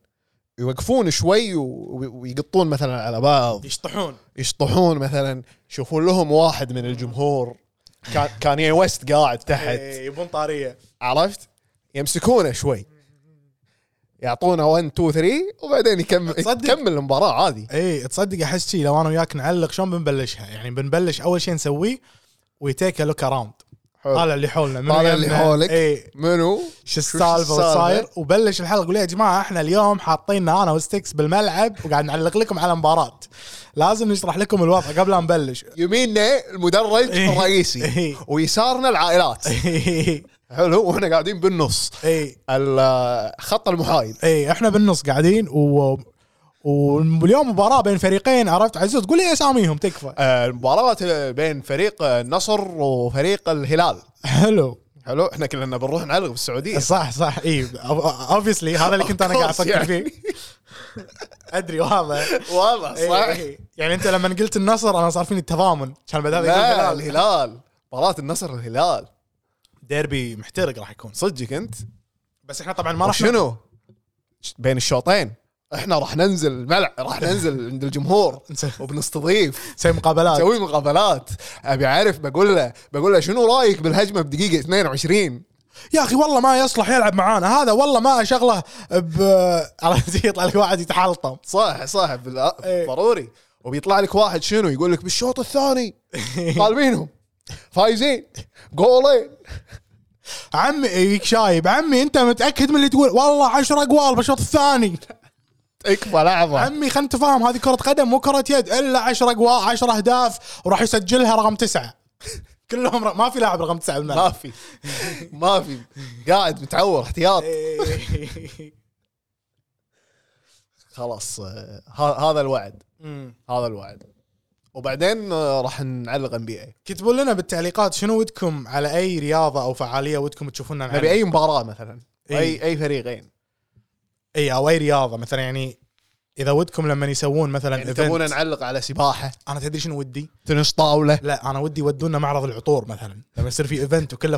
S2: يوقفون شوي و- ويقطون مثلا على بعض
S3: يشطحون
S2: يشطحون مثلا يشوفون لهم واحد من الجمهور كان كان ويست قاعد تحت
S3: إي، إيه، يبون طاريه
S2: عرفت يمسكونه شوي يعطونه 1 2 3 وبعدين يكمل
S3: تصدق؟
S2: يكمل المباراه عادي
S3: اي إيه، تصدق احس شي لو انا وياك نعلق شلون بنبلشها يعني بنبلش اول شيء نسويه ويتيك لوك اراوند طالع اللي حولنا منو
S2: طالع اللي
S3: يمنا؟
S2: حولك
S3: اي
S2: منو
S3: شو
S2: شو
S3: السالفه
S2: السالفة؟
S3: وصاير وبلش الحلقه قول يا جماعه احنا اليوم حاطيننا انا وستكس بالملعب وقاعد نعلق لكم على مباراه لازم نشرح لكم الوضع قبل لا نبلش [laughs]
S2: يميننا المدرج
S3: إيه.
S2: الرئيسي
S3: إيه.
S2: ويسارنا العائلات حلو واحنا قاعدين بالنص
S3: اي
S2: ال- خط المحايد
S3: اي احنا إيه، بالنص قاعدين و واليوم مباراه بين فريقين عرفت عزوز قول لي اساميهم تكفى [laughs]
S2: آه، المباراة بين فريق النصر وفريق الهلال
S3: حلو
S2: حلو احنا كلنا بنروح نعلق بالسعودية
S3: صح صح إيه، اي اوبسلي هذا اللي كنت انا قاعد
S2: Of course
S3: افكر فيه
S2: يعني. [laughs]
S3: ادري واضح
S2: واضح
S3: إيه،
S2: صح
S3: إيه. يعني انت لما قلت النصر انا صار فيني التضامن كان بدال
S2: لا
S3: يقول الهلال.
S2: الهلال مباراة النصر الهلال
S3: ديربي محترق راح يكون
S2: صدقك انت
S3: بس احنا طبعا ما راح
S2: شنو بين الشوطين احنا راح ننزل الملع راح ننزل عند [laughs] الجمهور وبنستضيف
S3: نسوي مقابلات
S2: اسوي مقابلات ابي اعرف بقول له بقول له شنو رايك بالهجمه بدقيقه 22
S3: يا اخي والله ما يصلح يلعب معانا هذا والله ما شغله ب [laughs] عرفت يطلع لك واحد يتحلطم
S2: صح صح بال-
S3: إيه.
S2: آه، ضروري وبيطلع لك واحد شنو يقول لك [laughs] بالشوط الثاني طالبينهم فايزين جولين
S3: عمي يجيك شايب عمي انت متاكد من اللي تقول والله 10 اقوال بالشوط [laughs] الثاني
S2: تكفى لحظه
S3: عمي خلنا نتفاهم هذه كره قدم مو كره يد الا 10 اقوال 10 اهداف وراح يسجلها رقم تسعه [laughs] كلهم ر... ما في لاعب رقم تسعه
S2: ما
S3: بالملعب
S2: في [laughs] ما في قاعد متعور احتياط
S3: [laughs]
S2: خلاص آه، ه- هذا الوعد
S3: أمم.
S2: هذا الوعد وبعدين آه، راح نعلق ام بي اي
S3: كتبوا لنا بالتعليقات شنو ودكم على اي رياضه او فعاليه ودكم تشوفونا نعلق؟
S2: نبي اي مباراه مثلا
S3: إي.
S2: اي اي فريقين
S3: اي او اي رياضه مثلا يعني اذا ودكم لما يسوون مثلا
S2: يعني
S3: event-
S2: تبون نعلق على سباحه
S3: انا تدري شنو ودي؟
S2: تنس طاوله
S3: لا انا ودي يودونا معرض العطور مثلا لما يصير في ايفنت وكله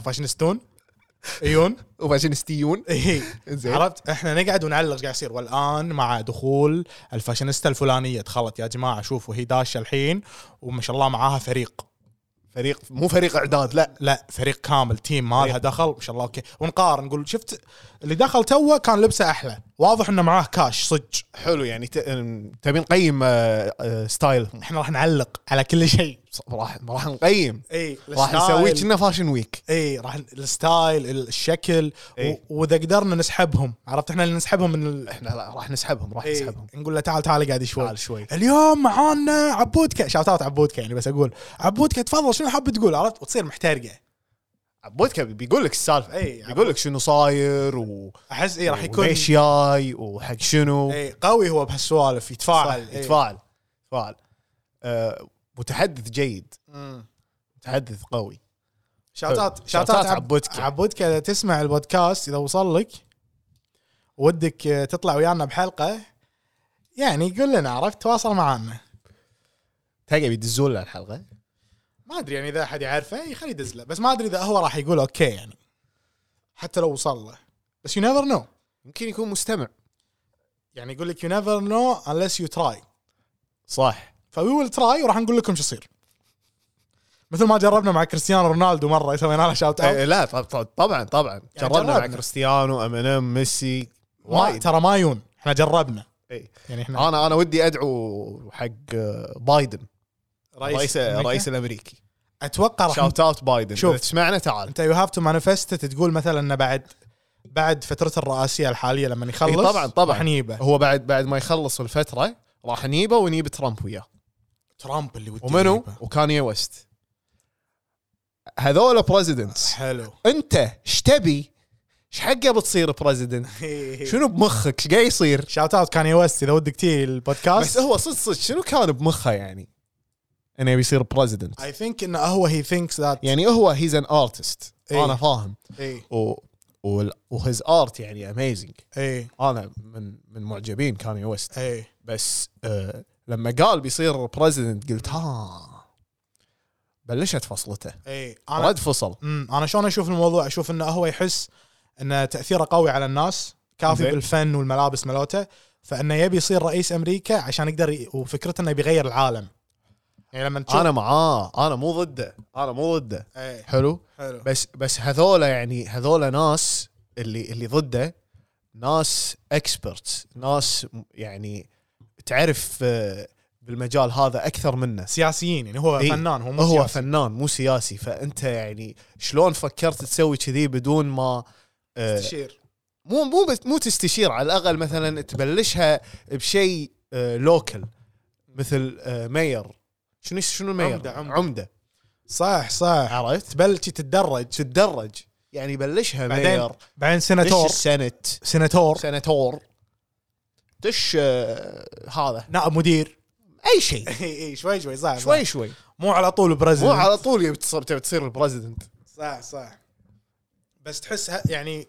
S2: [laughs]
S3: وفاشينيستون عيون
S2: وبعدين ستيون
S3: اي
S2: زين.
S3: إيه. عرفت احنا نقعد ونعلق ايش قاعد يصير والان مع دخول الفاشينيستا الفلانيه دخلت يا جماعه شوفوا هي داشه الحين وما شاء الله معاها فريق
S2: فريق مو فريق اعداد لا
S3: لا فريق كامل تيم مالها دخل ما شاء الله اوكي ونقارن نقول شفت اللي دخل توه كان لبسه احلى واضح انه معاه كاش صج
S2: حلو يعني ت- أم، تبي نقيم آه، آه، ستايلهم
S3: احنا راح نعلق على كل شيء
S2: ص- راح راح نقيم
S3: اي
S2: راح نسوي كنا فاشن ويك
S3: اي إيه، راح الستايل الشكل و-
S2: إي.
S3: واذا قدرنا نسحبهم عرفت احنا اللي نسحبهم من ال...
S2: احنا لا راح نسحبهم راح
S3: إيه.
S2: نسحبهم
S3: نقول له تعال تعال قاعد شوي
S2: تعال شوي.
S3: اليوم معانا عبودكه شاوتات عبودكه يعني بس اقول عبودكه تفضل شنو حاب تقول عرفت وتصير محترقه
S2: عبودك بيقول لك السالفه
S3: إي،
S2: بيقول لك شنو صاير و
S3: احس اي إيه، راح يكون
S2: وليش جاي وحق شنو
S3: اي قوي هو بهالسوالف يتفاعل
S2: صح، إيه.
S3: إي.
S2: يتفاعل يتفاعل آه، متحدث جيد
S3: مم.
S2: متحدث قوي شاوتات
S3: شاوتات شاوتات عبودكه
S2: عبودكة.
S3: عبودكه اذا تسمع البودكاست اذا وصل لك ودك آه، تطلع ويانا بحلقه يعني قول لنا عرفت تواصل معانا
S2: تلقى بيدزون لنا الحلقه
S3: ما ادري يعني اذا احد يعرفه إي، خليه يدز له بس ما ادري اذا هو راح يقول اوكي يعني حتى لو وصل له بس يو نيفر نو
S2: يمكن يكون مستمع
S3: يعني يقول لك يو نيفر نو unless يو تراي
S2: صح
S3: فوي ويل تراي وراح نقول لكم شو يصير مثل ما جربنا مع كريستيانو رونالدو مره سوينا له شاوت اوت
S2: آه، لا طب- طب- طبعا طبعا جربنا مع
S3: جربنا.
S2: كريستيانو ام ام ميسي
S3: ما
S2: وايد آه،
S3: ترى ما يون احنا جربنا
S2: إي.
S3: يعني احنا
S2: انا انا ودي ادعو حق آه، بايدن رئيس
S3: أمريكا.
S2: الرئيس الامريكي
S3: اتوقع راح
S2: شاوت اوت بايدن
S3: شوف.
S2: شوف تسمعنا تعال
S3: انت يو هاف تو مانيفست تقول مثلا انه بعد بعد فترته الرئاسيه الحاليه لما يخلص
S2: إي طبعا طبعا
S3: راح نجيبه
S2: هو بعد بعد ما يخلص الفتره راح نيبه ونيب ترامب وياه
S3: ترامب اللي ودي
S2: ومنو
S3: نجيبه.
S2: وكانيه ويست هذول بريزدنتس [laughs]
S3: حلو
S2: انت ايش تبي؟ ايش حقه بتصير بريزدنت؟ شنو بمخك؟ ايش قاعد يصير؟
S3: شاوت اوت كاني ويست اذا ودك تي
S2: بس
S3: البودكاست
S2: هو صدق صدق شنو كان بمخه يعني؟ انه يبي يصير بريزدنت
S3: اي ثينك انه هو هي ثينكس ذات
S2: يعني هو هيز ان ارتست
S3: إيه.
S2: انا فاهم
S3: اي
S2: و وهيز ارت يعني اميزنج
S3: اي
S2: انا من من معجبين كاني ويست
S3: اي
S2: بس آه لما قال بيصير بريزدنت قلت ها بلشت فصلته
S3: اي
S2: رد فصل
S3: امم انا شلون اشوف الموضوع اشوف انه هو يحس ان تاثيره قوي على الناس كافي
S2: زين.
S3: بالفن والملابس ملوته فانه يبي يصير رئيس امريكا عشان يقدر ي... وفكرته انه بيغير العالم يعني لما تشوف
S2: انا معاه انا مو ضده انا مو ضده
S3: اي
S2: حلو
S3: حلو
S2: بس بس هذولا يعني هذولا ناس اللي اللي ضده ناس اكسبرتس ناس م- يعني تعرف آه، بالمجال هذا اكثر منه
S3: سياسيين يعني هو
S2: إي.
S3: فنان هو مو
S2: إيه. هو
S3: سياسي.
S2: فنان مو سياسي فانت يعني شلون فكرت تسوي كذي بدون ما آه،
S3: تشير
S2: مو مو بس مو تستشير على الاقل مثلا تبلشها بشيء لوكل مثل آه، مير شنو شنو المير؟
S3: عمدة- عمدة.
S2: عمده
S3: صح صح
S2: عرفت؟
S3: بل شي تتدرج
S2: تتدرج يعني بلشها
S3: بعدين
S2: مير
S3: بعدين
S2: دش
S3: سناتور
S2: السنت
S3: سناتور
S2: سناتور دش آه، هذا
S3: نائب مدير [laughs]
S2: اي شيء
S3: اي اي شوي شوي صح
S2: شوي شوي
S3: مو على طول بريزنت
S2: مو على طول يبي تصير تبي تصير البريزدنت
S3: صح صح بس تحس ه- يعني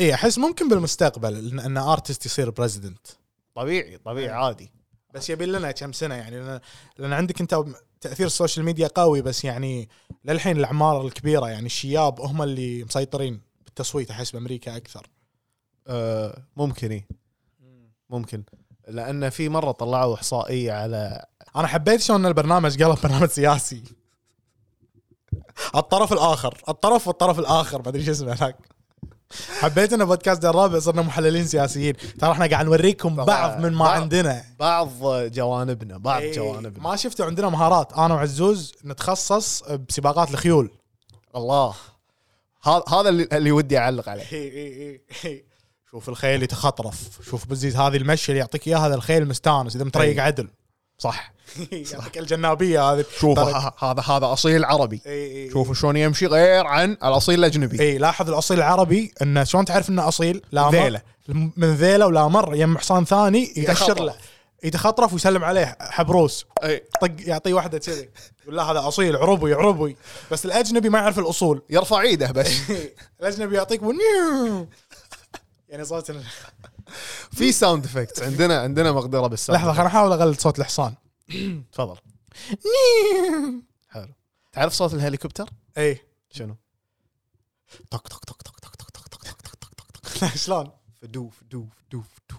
S3: اي احس ممكن بالمستقبل ان, إن ارتست يصير بريزدنت
S2: طبيعي طبيعي عادي
S3: بس يبي لنا كم سنه يعني لان, لأن عندك انت تاثير السوشيال ميديا قوي بس يعني للحين الاعمار الكبيره يعني الشياب هم اللي مسيطرين بالتصويت احس بامريكا اكثر
S2: آه، ممكن إيه. ممكن لان في مره طلعوا احصائيه على
S3: انا حبيت شلون البرنامج قلب برنامج سياسي الطرف الاخر الطرف والطرف الاخر ما ادري شو اسمه هناك حبيت ان بودكاست الرابع صرنا محللين سياسيين ترى احنا قاعد نوريكم بعض من ما
S2: بعض.
S3: عندنا
S2: بعض جوانبنا بعض
S3: إيه،
S2: جوانبنا
S3: ما شفتوا [laughs] عندنا مهارات انا وعزوز نتخصص بسباقات الخيول
S2: الله هذا هذا اللي, اللي ودي اعلق عليه
S3: إي إي إي. شوف الخيل يتخطرف شوف بزيز هذه المشي اللي يعطيك اياها هذا الخيل مستانس اذا متريق عدل
S2: صح
S3: إيه. [laughs] يعطيك الجنابيه هذه طيب. إيه،
S2: شوف
S3: ترى-
S2: ه- هذا هذا اصيل عربي
S3: إي إي.
S2: شوف شلون يمشي غير عن الاصيل الاجنبي
S3: اي إيه، لاحظ الاصيل العربي انه شلون تعرف انه اصيل لا
S2: ذيلة.
S3: ذيله من ذيله ولا مر يم حصان ثاني
S2: يتخطرف.
S3: يأشر له يتخطرف ويسلم عليه حبروس
S2: إي.
S3: طق يعطيه واحده كذي يقول لا هذا اصيل عربي عربي بس الاجنبي ما يعرف الاصول
S2: يرفع ايده بس
S3: [laughs] الاجنبي يعطيك ونيو. [laughs] يعني صوت ال-
S2: في ساوند افكت عندنا عندنا مقدره بالساوند
S3: لحظه خليني احاول اقلد صوت [laughs] الحصان
S2: تفضل حلو تعرف صوت الهليكوبتر؟
S3: اي
S2: شنو؟
S3: طق طق طق طق طق طق طق طق طق طق طق طق لا، شلون؟
S2: فدو فدو فدو فدو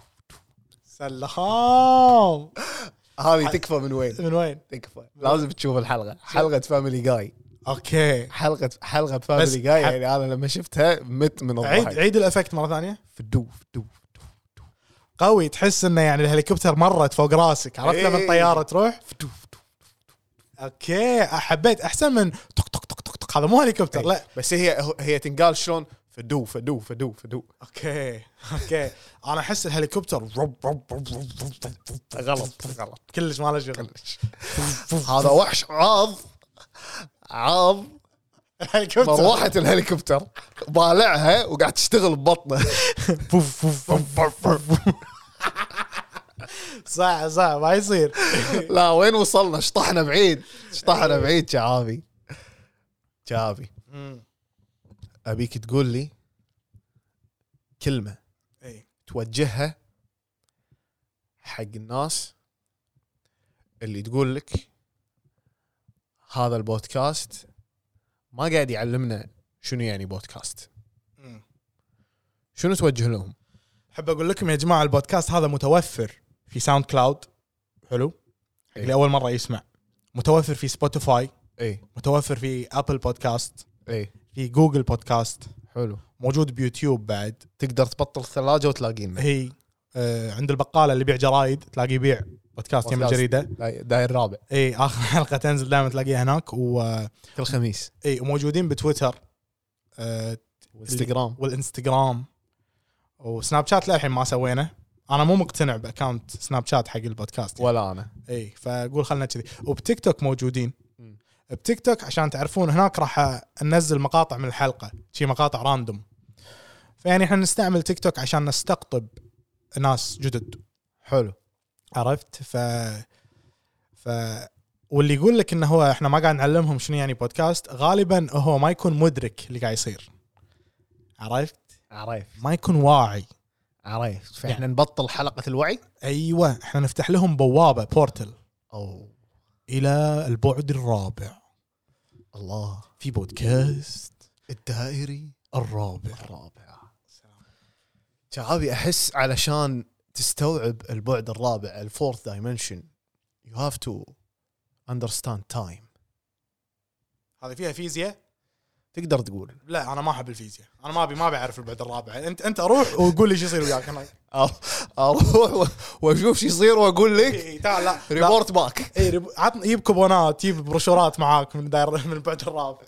S3: سلام
S2: هذه تكفى من وين؟
S3: من وين؟
S2: [laughs] تكفى لازم تشوف الحلقه حلقه فاميلي جاي
S3: اوكي
S2: حلقه حلقه
S3: بس
S2: فاميلي جاي
S3: حل-
S2: يعني انا لما شفتها مت من
S3: عيد
S2: الضحك
S3: عيد الافكت مره ثانيه
S2: فدو فدو فدو
S3: قوي تحس انه يعني الهليكوبتر مرت فوق راسك عرفت لما
S2: إيه.
S3: الطياره [laughs] تروح
S2: فدو فدو
S3: اوكي حبيت احسن من طق طق طق طق طق هذا مو هليكوبتر لا
S2: لا بس هي هي تنقال شلون فدو فدو فدو فدو
S3: اوكي اوكي انا احس الهليكوبتر رب رب رب رب رب رب رب.
S2: غلط غلط
S3: كلش ما له شغل
S2: [laughs] هذا وحش عاض عاض
S3: الهليكوبتر
S2: مروحه الهليكوبتر بالعها وقاعد تشتغل ببطنه [laughs]
S3: فوف فوف فوف فوف. صح صح ما يصير
S2: [laughs] لا وين وصلنا شطحنا بعيد شطحنا بعيد شعابي شعابي ابيك تقول لي كلمه
S3: إي.
S2: توجهها حق الناس اللي تقول لك هذا البودكاست ما قاعد يعلمنا شنو يعني بودكاست شنو توجه لهم
S3: احب اقول لكم يا جماعه البودكاست هذا متوفر في ساوند كلاود حلو
S2: إيه.
S3: اللي اول مره يسمع متوفر في سبوتيفاي
S2: اي
S3: متوفر في ابل بودكاست
S2: اي
S3: في جوجل بودكاست
S2: حلو
S3: موجود بيوتيوب بعد
S2: تقدر تبطل الثلاجه وتلاقينا
S3: هي آه عند البقاله اللي يبيع جرايد تلاقي يبيع بودكاست يم
S2: بودكاست.
S3: الجريده
S2: داي- داير رابع
S3: اي [laughs] اخر حلقه تنزل دائما تلاقيها هناك و
S2: كل خميس
S3: اي وموجودين بتويتر آه
S2: وانستغرام
S3: والانستغرام وسناب شات للحين ما سوينا انا مو مقتنع باكونت سناب شات حق البودكاست يعني.
S2: ولا انا
S3: اي فقول خلنا كذي وبتيك توك موجودين
S2: مم.
S3: بتيك توك عشان تعرفون هناك راح انزل مقاطع من الحلقه شي مقاطع راندوم فيعني احنا نستعمل تيك توك عشان نستقطب ناس جدد
S2: حلو
S3: عرفت ف ف واللي يقول لك انه هو احنا ما قاعد نعلمهم شنو يعني بودكاست غالبا هو ما يكون مدرك اللي قاعد يصير عرفت
S2: عريف
S3: ما يكون واعي
S2: عريف فاحنا نبطل حلقه الوعي
S3: ايوه احنا نفتح لهم بوابه بورتل
S2: او
S3: الى البعد الرابع
S2: الله
S3: في بودكاست
S2: الدائري
S3: الرابع
S2: الرابع شعبي احس علشان تستوعب البعد الرابع الفورث دايمنشن يو هاف تو اندرستاند تايم
S3: هذه فيها فيزياء
S2: تقدر تقول
S3: لا انا ما احب الفيزياء انا ما ابي ما بعرف البعد الرابع انت انت اروح وقول لي شو يصير وياك انا
S2: أر- [laughs] اروح و- واشوف شو يصير واقول
S3: إي،
S2: لك
S3: إي، تعال لا لا.
S2: ريبورت باك
S3: اي ريب- عطني جيب كوبونات جيب بروشورات معاك من داير من البعد الرابع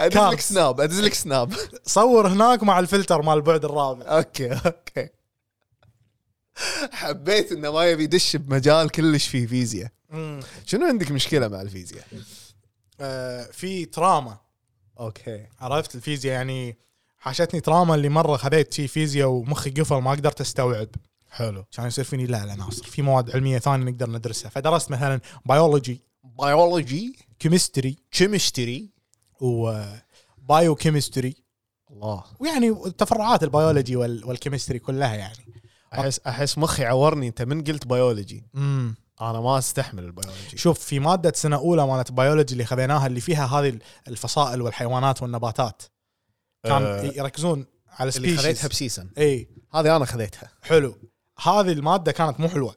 S2: ادز
S3: كارت.
S2: لك سناب ادز لك سناب [laughs]
S3: صور هناك مع الفلتر مال البعد الرابع
S2: اوكي اوكي حبيت انه ما يبي يدش بمجال كلش فيه فيزياء شنو عندك مشكله مع الفيزياء
S3: آه في تراما
S2: اوكي
S3: عرفت الفيزياء يعني حاشتني تراما اللي مره خذيت شي فيزياء ومخي قفل ما قدرت استوعب
S2: حلو
S3: كان يصير فيني لا لا ناصر في مواد علميه ثانيه نقدر ندرسها فدرست مثلا بيولوجي
S2: بيولوجي
S3: كيمستري
S2: كيمستري
S3: وبايو كيمستري
S2: الله
S3: آه، ويعني تفرعات البيولوجي وال- والكيمستري كلها يعني
S2: احس احس مخي عورني انت من قلت بيولوجي
S3: امم
S2: انا ما استحمل البيولوجي
S3: شوف في ماده سنه اولى مالت بيولوجي اللي خذيناها اللي فيها هذه الفصائل والحيوانات والنباتات كان
S2: آه،
S3: يركزون على إيه.
S2: اللي خذيتها
S3: سبيشيز
S2: بسيسن
S3: اي
S2: هذه انا خذيتها
S3: حلو هذه الماده كانت مو حلوه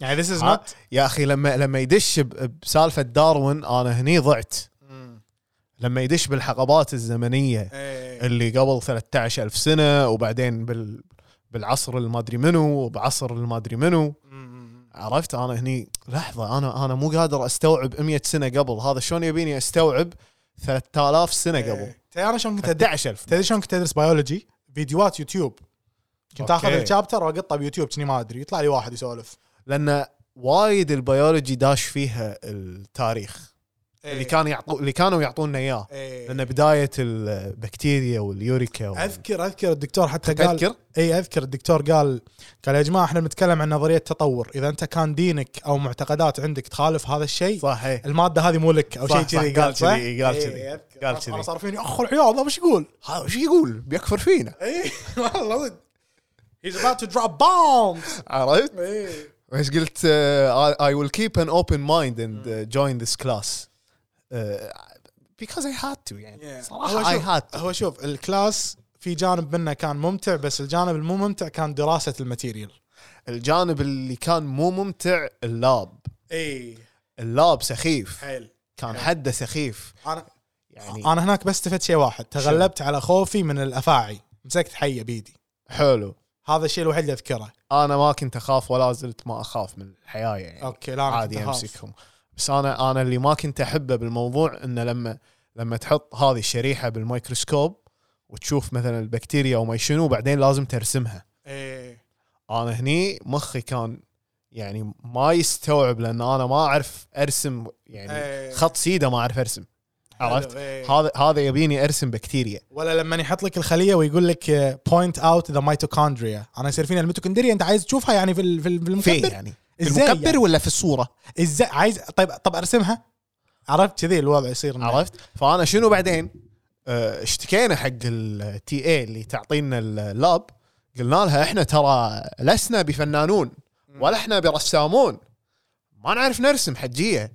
S3: يعني ذيس از
S2: ها؟
S3: نوت
S2: يا اخي لما لما يدش ب- بسالفه داروين انا هني ضعت آه. لما يدش بالحقبات الزمنيه
S3: إيه.
S2: اللي قبل 13000 سنه وبعدين بال بالعصر المادري منو وبعصر المادري منو
S3: إيه.
S2: عرفت انا هني لحظه انا انا مو قادر استوعب 100 سنه قبل هذا شلون يبيني استوعب 3000 سنه
S3: إيه.
S2: قبل
S3: تدري انا شلون كنت أدري-
S2: 11000
S3: تدري شلون كنت ادرس بيولوجي؟ فيديوهات يوتيوب كنت
S2: أوكي.
S3: اخذ الشابتر واقطه بيوتيوب كني ما ادري يطلع لي واحد يسولف
S2: لان وايد البيولوجي داش فيها التاريخ اللي كان يعطو اللي كانوا يعطونا اياه
S3: إيه.
S2: لان بدايه البكتيريا واليوريكا وال...
S3: اذكر اذكر الدكتور حتى قال
S2: تذكر
S3: اي اذكر الدكتور قال قال يا جماعه احنا بنتكلم عن نظريه التطور اذا انت كان دينك او معتقدات عندك تخالف هذا الشيء
S2: صح إيه.
S3: الماده هذه مو لك او
S2: صح،
S3: شيء
S2: صح،
S3: كذي
S2: قال
S3: صح؟
S2: كذي، إي، قال
S3: إي،
S2: كذي،
S3: أذكر.
S2: قال
S3: أنا-
S2: كذي.
S3: انا صار فيني اخ العيال ذا وش يقول؟
S2: هذا وش يقول بيكفر فينا
S3: اي إيه، والله صدق He's about to drop bombs
S2: عرفت
S3: إي.
S2: ايش قلت آه، اي ويل كيب ان اوبن مايند اند جوين ذيس كلاس آه، بيكوز اي هاد تو يعني
S3: Yeah.
S2: صراحه اي
S3: شوف-
S2: هاد
S3: هو شوف الكلاس في جانب منه كان ممتع بس الجانب المو ممتع كان دراسه الماتيريال
S2: الجانب اللي كان مو ممتع اللاب
S3: اي
S2: اللاب سخيف
S3: إيه، حيل
S2: كان حده سخيف
S3: انا
S2: يعني
S3: انا هناك بس استفدت شيء واحد تغلبت على خوفي من الافاعي مسكت حيه بيدي
S2: حلو
S3: هذا الشيء الوحيد اللي اذكره
S2: انا ما كنت اخاف ولا زلت ما اخاف من الحياه يعني
S3: اوكي لا انا
S2: عادي
S3: كنت أخاف.
S2: امسكهم بس انا انا اللي ما كنت احبه بالموضوع انه لما لما تحط هذه الشريحه بالميكروسكوب وتشوف مثلا البكتيريا وما شنو بعدين لازم ترسمها
S3: ايه
S2: انا هني مخي كان يعني ما يستوعب لان انا ما اعرف ارسم يعني
S3: إيه.
S2: خط سيده ما اعرف ارسم عرفت
S3: حلو، إيه.
S2: هذا هذا يبيني ارسم بكتيريا
S3: ولا لما يحط لك الخليه ويقول لك آه، بوينت اوت ذا ميتوكوندريا انا يصير فينا الميتوكوندريا انت عايز تشوفها يعني في ال- في ال- في
S2: فيه
S3: المكبر
S2: يعني
S3: إزاي
S2: المكبر
S3: يعني؟
S2: ولا في الصوره
S3: ازاي عايز طيب طب ارسمها عرفت كذي الوضع يصير إنه-
S2: عرفت فانا شنو بعدين آه، اشتكينا حق التي اي اللي تعطينا اللاب قلنا لها احنا ترى لسنا بفنانون ولا احنا برسامون ما نعرف نرسم حجيه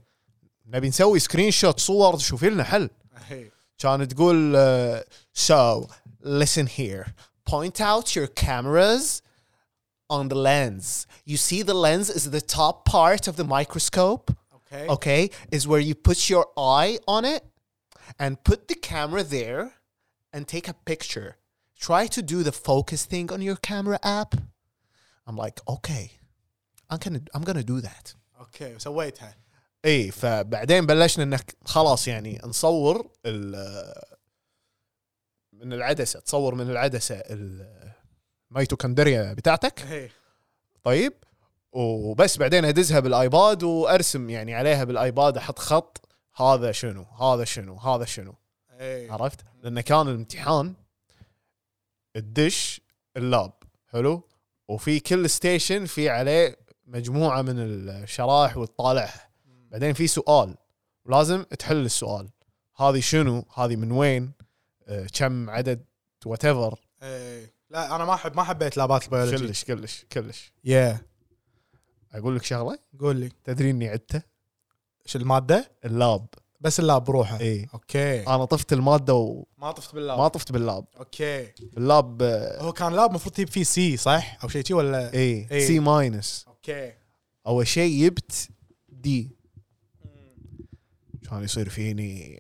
S2: نبي نسوي سكرين شوت صور شوفي لنا حل
S3: إيه.
S2: كانت تقول آه، so listen here point out your cameras on the lens you see the lens is the top part of the microscope
S3: اوكي
S2: okay, is where you put your eye on it and put the camera there and take a picture. Try to do the focus thing on your camera app. I'm like, okay, I'm gonna I'm gonna do that.
S3: اوكي وسويتها
S2: اي فبعدين بلشنا انك خلاص يعني نصور ال من العدسه تصور من العدسه الميتوكندريا بتاعتك
S3: ايه
S2: طيب وبس بعدين ادزها بالايباد وارسم يعني عليها بالايباد احط خط هذا شنو هذا شنو هذا شنو
S3: ايه
S2: عرفت لان كان الامتحان الدش اللاب حلو وفي كل ستيشن في عليه مجموعه من الشرائح وتطالعها بعدين في سؤال ولازم تحل السؤال هذه شنو هذه من وين آه، كم عدد وات ايفر
S3: ايه لا انا ما احب ما حبيت لابات البيولوجي
S2: كلش كلش كلش
S3: يا
S2: اقول لك شغله
S3: قول لي
S2: تدري اني عدته
S3: شو الماده
S2: اللاب
S3: بس اللاب بروحه
S2: ايه
S3: اوكي
S2: انا طفت الماده وما
S3: إيه. آه. ما طفت باللاب
S2: طفت باللاب
S3: اوكي
S2: باللاب آه،
S3: هو كان لاب المفروض تجيب فيه سي صح او شيء شي ولا
S2: ايه
S3: إيه.
S2: سي ماينس
S3: اوكي
S2: اول شيء جبت دي كان يصير فيني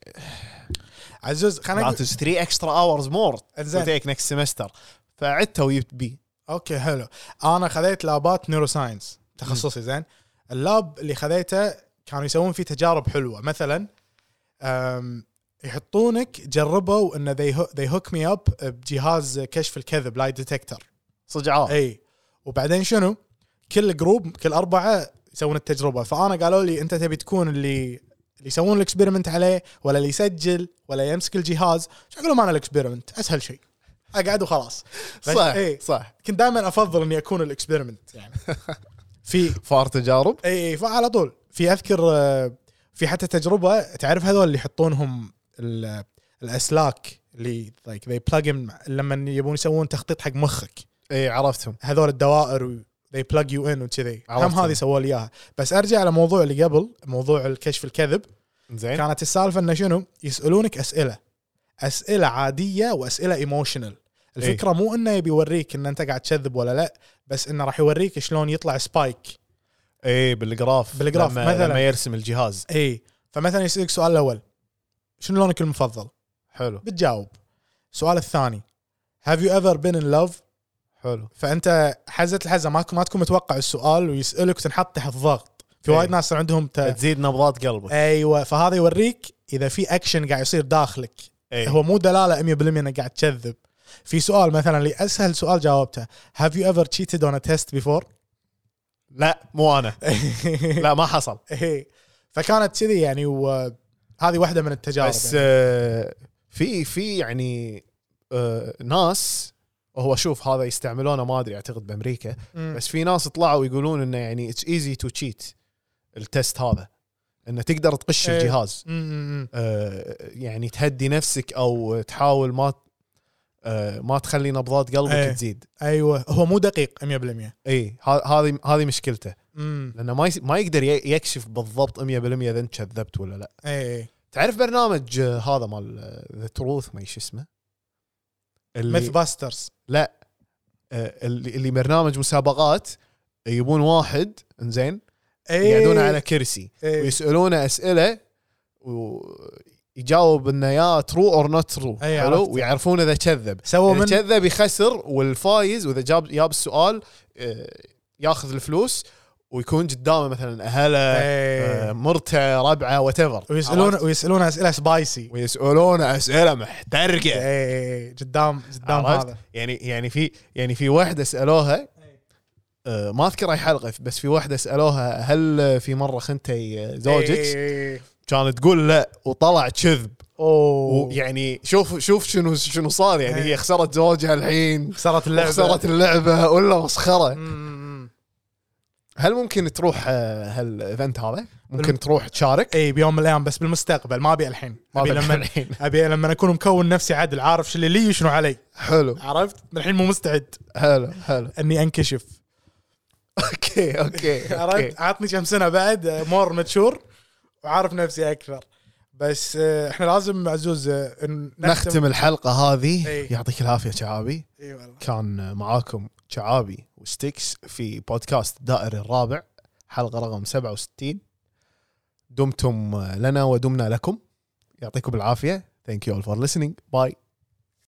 S3: عزوز خلينا
S2: That
S3: نقول
S2: is 3 اكسترا اورز مور
S3: إنزين.
S2: تيك نكست سمستر فعدته وجبت بي
S3: اوكي حلو انا خذيت لابات نيورو ساينس تخصصي زين اللاب اللي خذيته كانوا يسوون فيه تجارب حلوه مثلا أم يحطونك جربوا ان they hook me up بجهاز كشف الكذب لاي ديتكتر
S2: صدق آه. عار
S3: اي وبعدين شنو؟ كل جروب كل اربعه يسوون التجربه فانا قالوا لي انت تبي تكون اللي اللي يسوون الاكسبيرمنت عليه ولا اللي يسجل ولا يمسك الجهاز شو اقول لهم انا الاكسبيرمنت اسهل شيء اقعد وخلاص بس- إيه.
S2: صح
S3: إي.
S2: صح
S3: كنت دائما افضل اني اكون الاكسبيرمنت يعني في
S2: فار تجارب
S3: اي اي فعلى طول في اذكر آه، في حتى تجربه تعرف هذول اللي يحطونهم ال- الاسلاك اللي like they plug in لما يبون يسوون تخطيط حق مخك
S2: اي إيه، عرفتهم
S3: هذول الدوائر و they plug you in وكذي هم
S2: عرفت.
S3: هذه سووا لي اياها بس ارجع لموضوع اللي قبل موضوع الكشف الكذب
S2: زين
S3: كانت السالفه انه شنو يسالونك اسئله اسئله عاديه واسئله ايموشنال الفكره مو انه يبي يوريك ان انت قاعد تكذب ولا لا بس انه راح يوريك شلون يطلع سبايك
S2: اي إيه، بالجراف
S3: بالجراف،
S2: لما,
S3: مثلاً.
S2: لما يرسم الجهاز
S3: اي فمثلا يسالك إيه. سؤال الاول شنو لونك المفضل
S2: حلو
S3: بتجاوب السؤال الثاني have you ever been in love
S2: حلو
S3: فانت حزه الحزه ما ما تكون متوقع السؤال ويسالك وتنحط تحت ضغط في
S2: إيه.
S3: وايد ناس عندهم ت... إيه.
S2: تزيد نبضات قلبك
S3: ايوه فهذا يوريك اذا في اكشن قاعد يصير داخلك
S2: إيه.
S3: هو مو دلاله 100% انك قاعد تكذب في سؤال مثلا لي اسهل سؤال جاوبته هاف يو ايفر تشيتد اون ا تيست بيفور
S2: لا مو
S3: [laughs]
S2: انا لا ما حصل
S3: إيه. فكانت كذي يعني وهذه واحده من التجارب
S2: بس
S3: يعني.
S2: آه، في في يعني آه، ناس هو شوف هذا يستعملونه ما ادري اعتقد بامريكا
S3: مم.
S2: بس في ناس طلعوا يقولون انه يعني اتس ايزي تو تشيت التست هذا انه تقدر تقش
S3: إيه.
S2: الجهاز
S3: مم، مم، مم.
S2: آه، يعني تهدي نفسك او تحاول ما آه، ما تخلي نبضات قلبك
S3: إيه.
S2: تزيد
S3: ايوه هو مو دقيق 100%
S2: اي ه- هذه هذه مشكلته
S3: امم
S2: لانه ما يس- ما يقدر ي- يكشف بالضبط 100% اذا انت كذبت ولا لا
S3: اي
S2: تعرف برنامج آه، هذا مال ذا تروث ما ايش اسمه اللي
S3: مثل باسترز
S2: آه، اللي اللي برنامج مسابقات يبون واحد انزين يقعدون
S3: إيه.
S2: على كرسي ويسالونه اسئله ويجاوب انه يا ترو اور نوت ترو
S3: أي،
S2: حلو
S3: إيه، عرفت.
S2: ويعرفون اذا كذب
S3: سووا
S2: اذا
S3: من
S2: كذب يخسر والفايز واذا جاب جاب السؤال آه، ياخذ الفلوس ويكون قدامه مثلا اهله آه،
S3: إيه.
S2: مرته ربعه وات
S3: ويسالون ويسالون اسئله سبايسي
S2: ويسالون اسئله محترقه
S3: اي إيه، قدام قدام
S2: عرفت؟
S3: هذا
S2: يعني يعني في يعني في واحده سالوها آه، ما اذكر اي حلقه بس في واحده سالوها هل في مره خنتي زوجك؟
S3: إيه.
S2: كانت تقول لا وطلع كذب
S3: اوه
S2: ويعني شوف شوف شنو شنو صار يعني
S3: إيه.
S2: هي خسرت زوجها الحين
S3: خسرت اللعبه
S2: خسرت اللعبه ولا مسخره
S3: مم.
S2: هل ممكن تروح آه، هالايفنت هذا؟ ممكن
S3: بالم-
S2: تروح تشارك؟
S3: اي إيه، بيوم من الايام بس بالمستقبل ما ابي الحين
S2: ما
S3: ابي
S2: أبي
S3: لما [laughs]
S2: الحين.
S3: ابي لما اكون مكون نفسي عدل عارف شو اللي لي وشنو علي
S2: حلو
S3: عرفت من الحين مو مستعد
S2: حلو حلو [laughs]
S3: اني انكشف
S2: اوكي اوكي اوكي
S3: [laughs] عرفت عطني كم سنه بعد مور ماتشور وعارف نفسي اكثر بس آه، احنا لازم عزوز آه، إن-
S2: نختم الحلقه هذه
S3: إيه.
S2: يعطيك العافيه شعابي
S3: اي والله
S2: كان معاكم شعابي وستيكس في بودكاست دائر الرابع حلقة رقم 67 دمتم لنا ودمنا لكم يعطيكم العافية Thank you all for listening. Bye.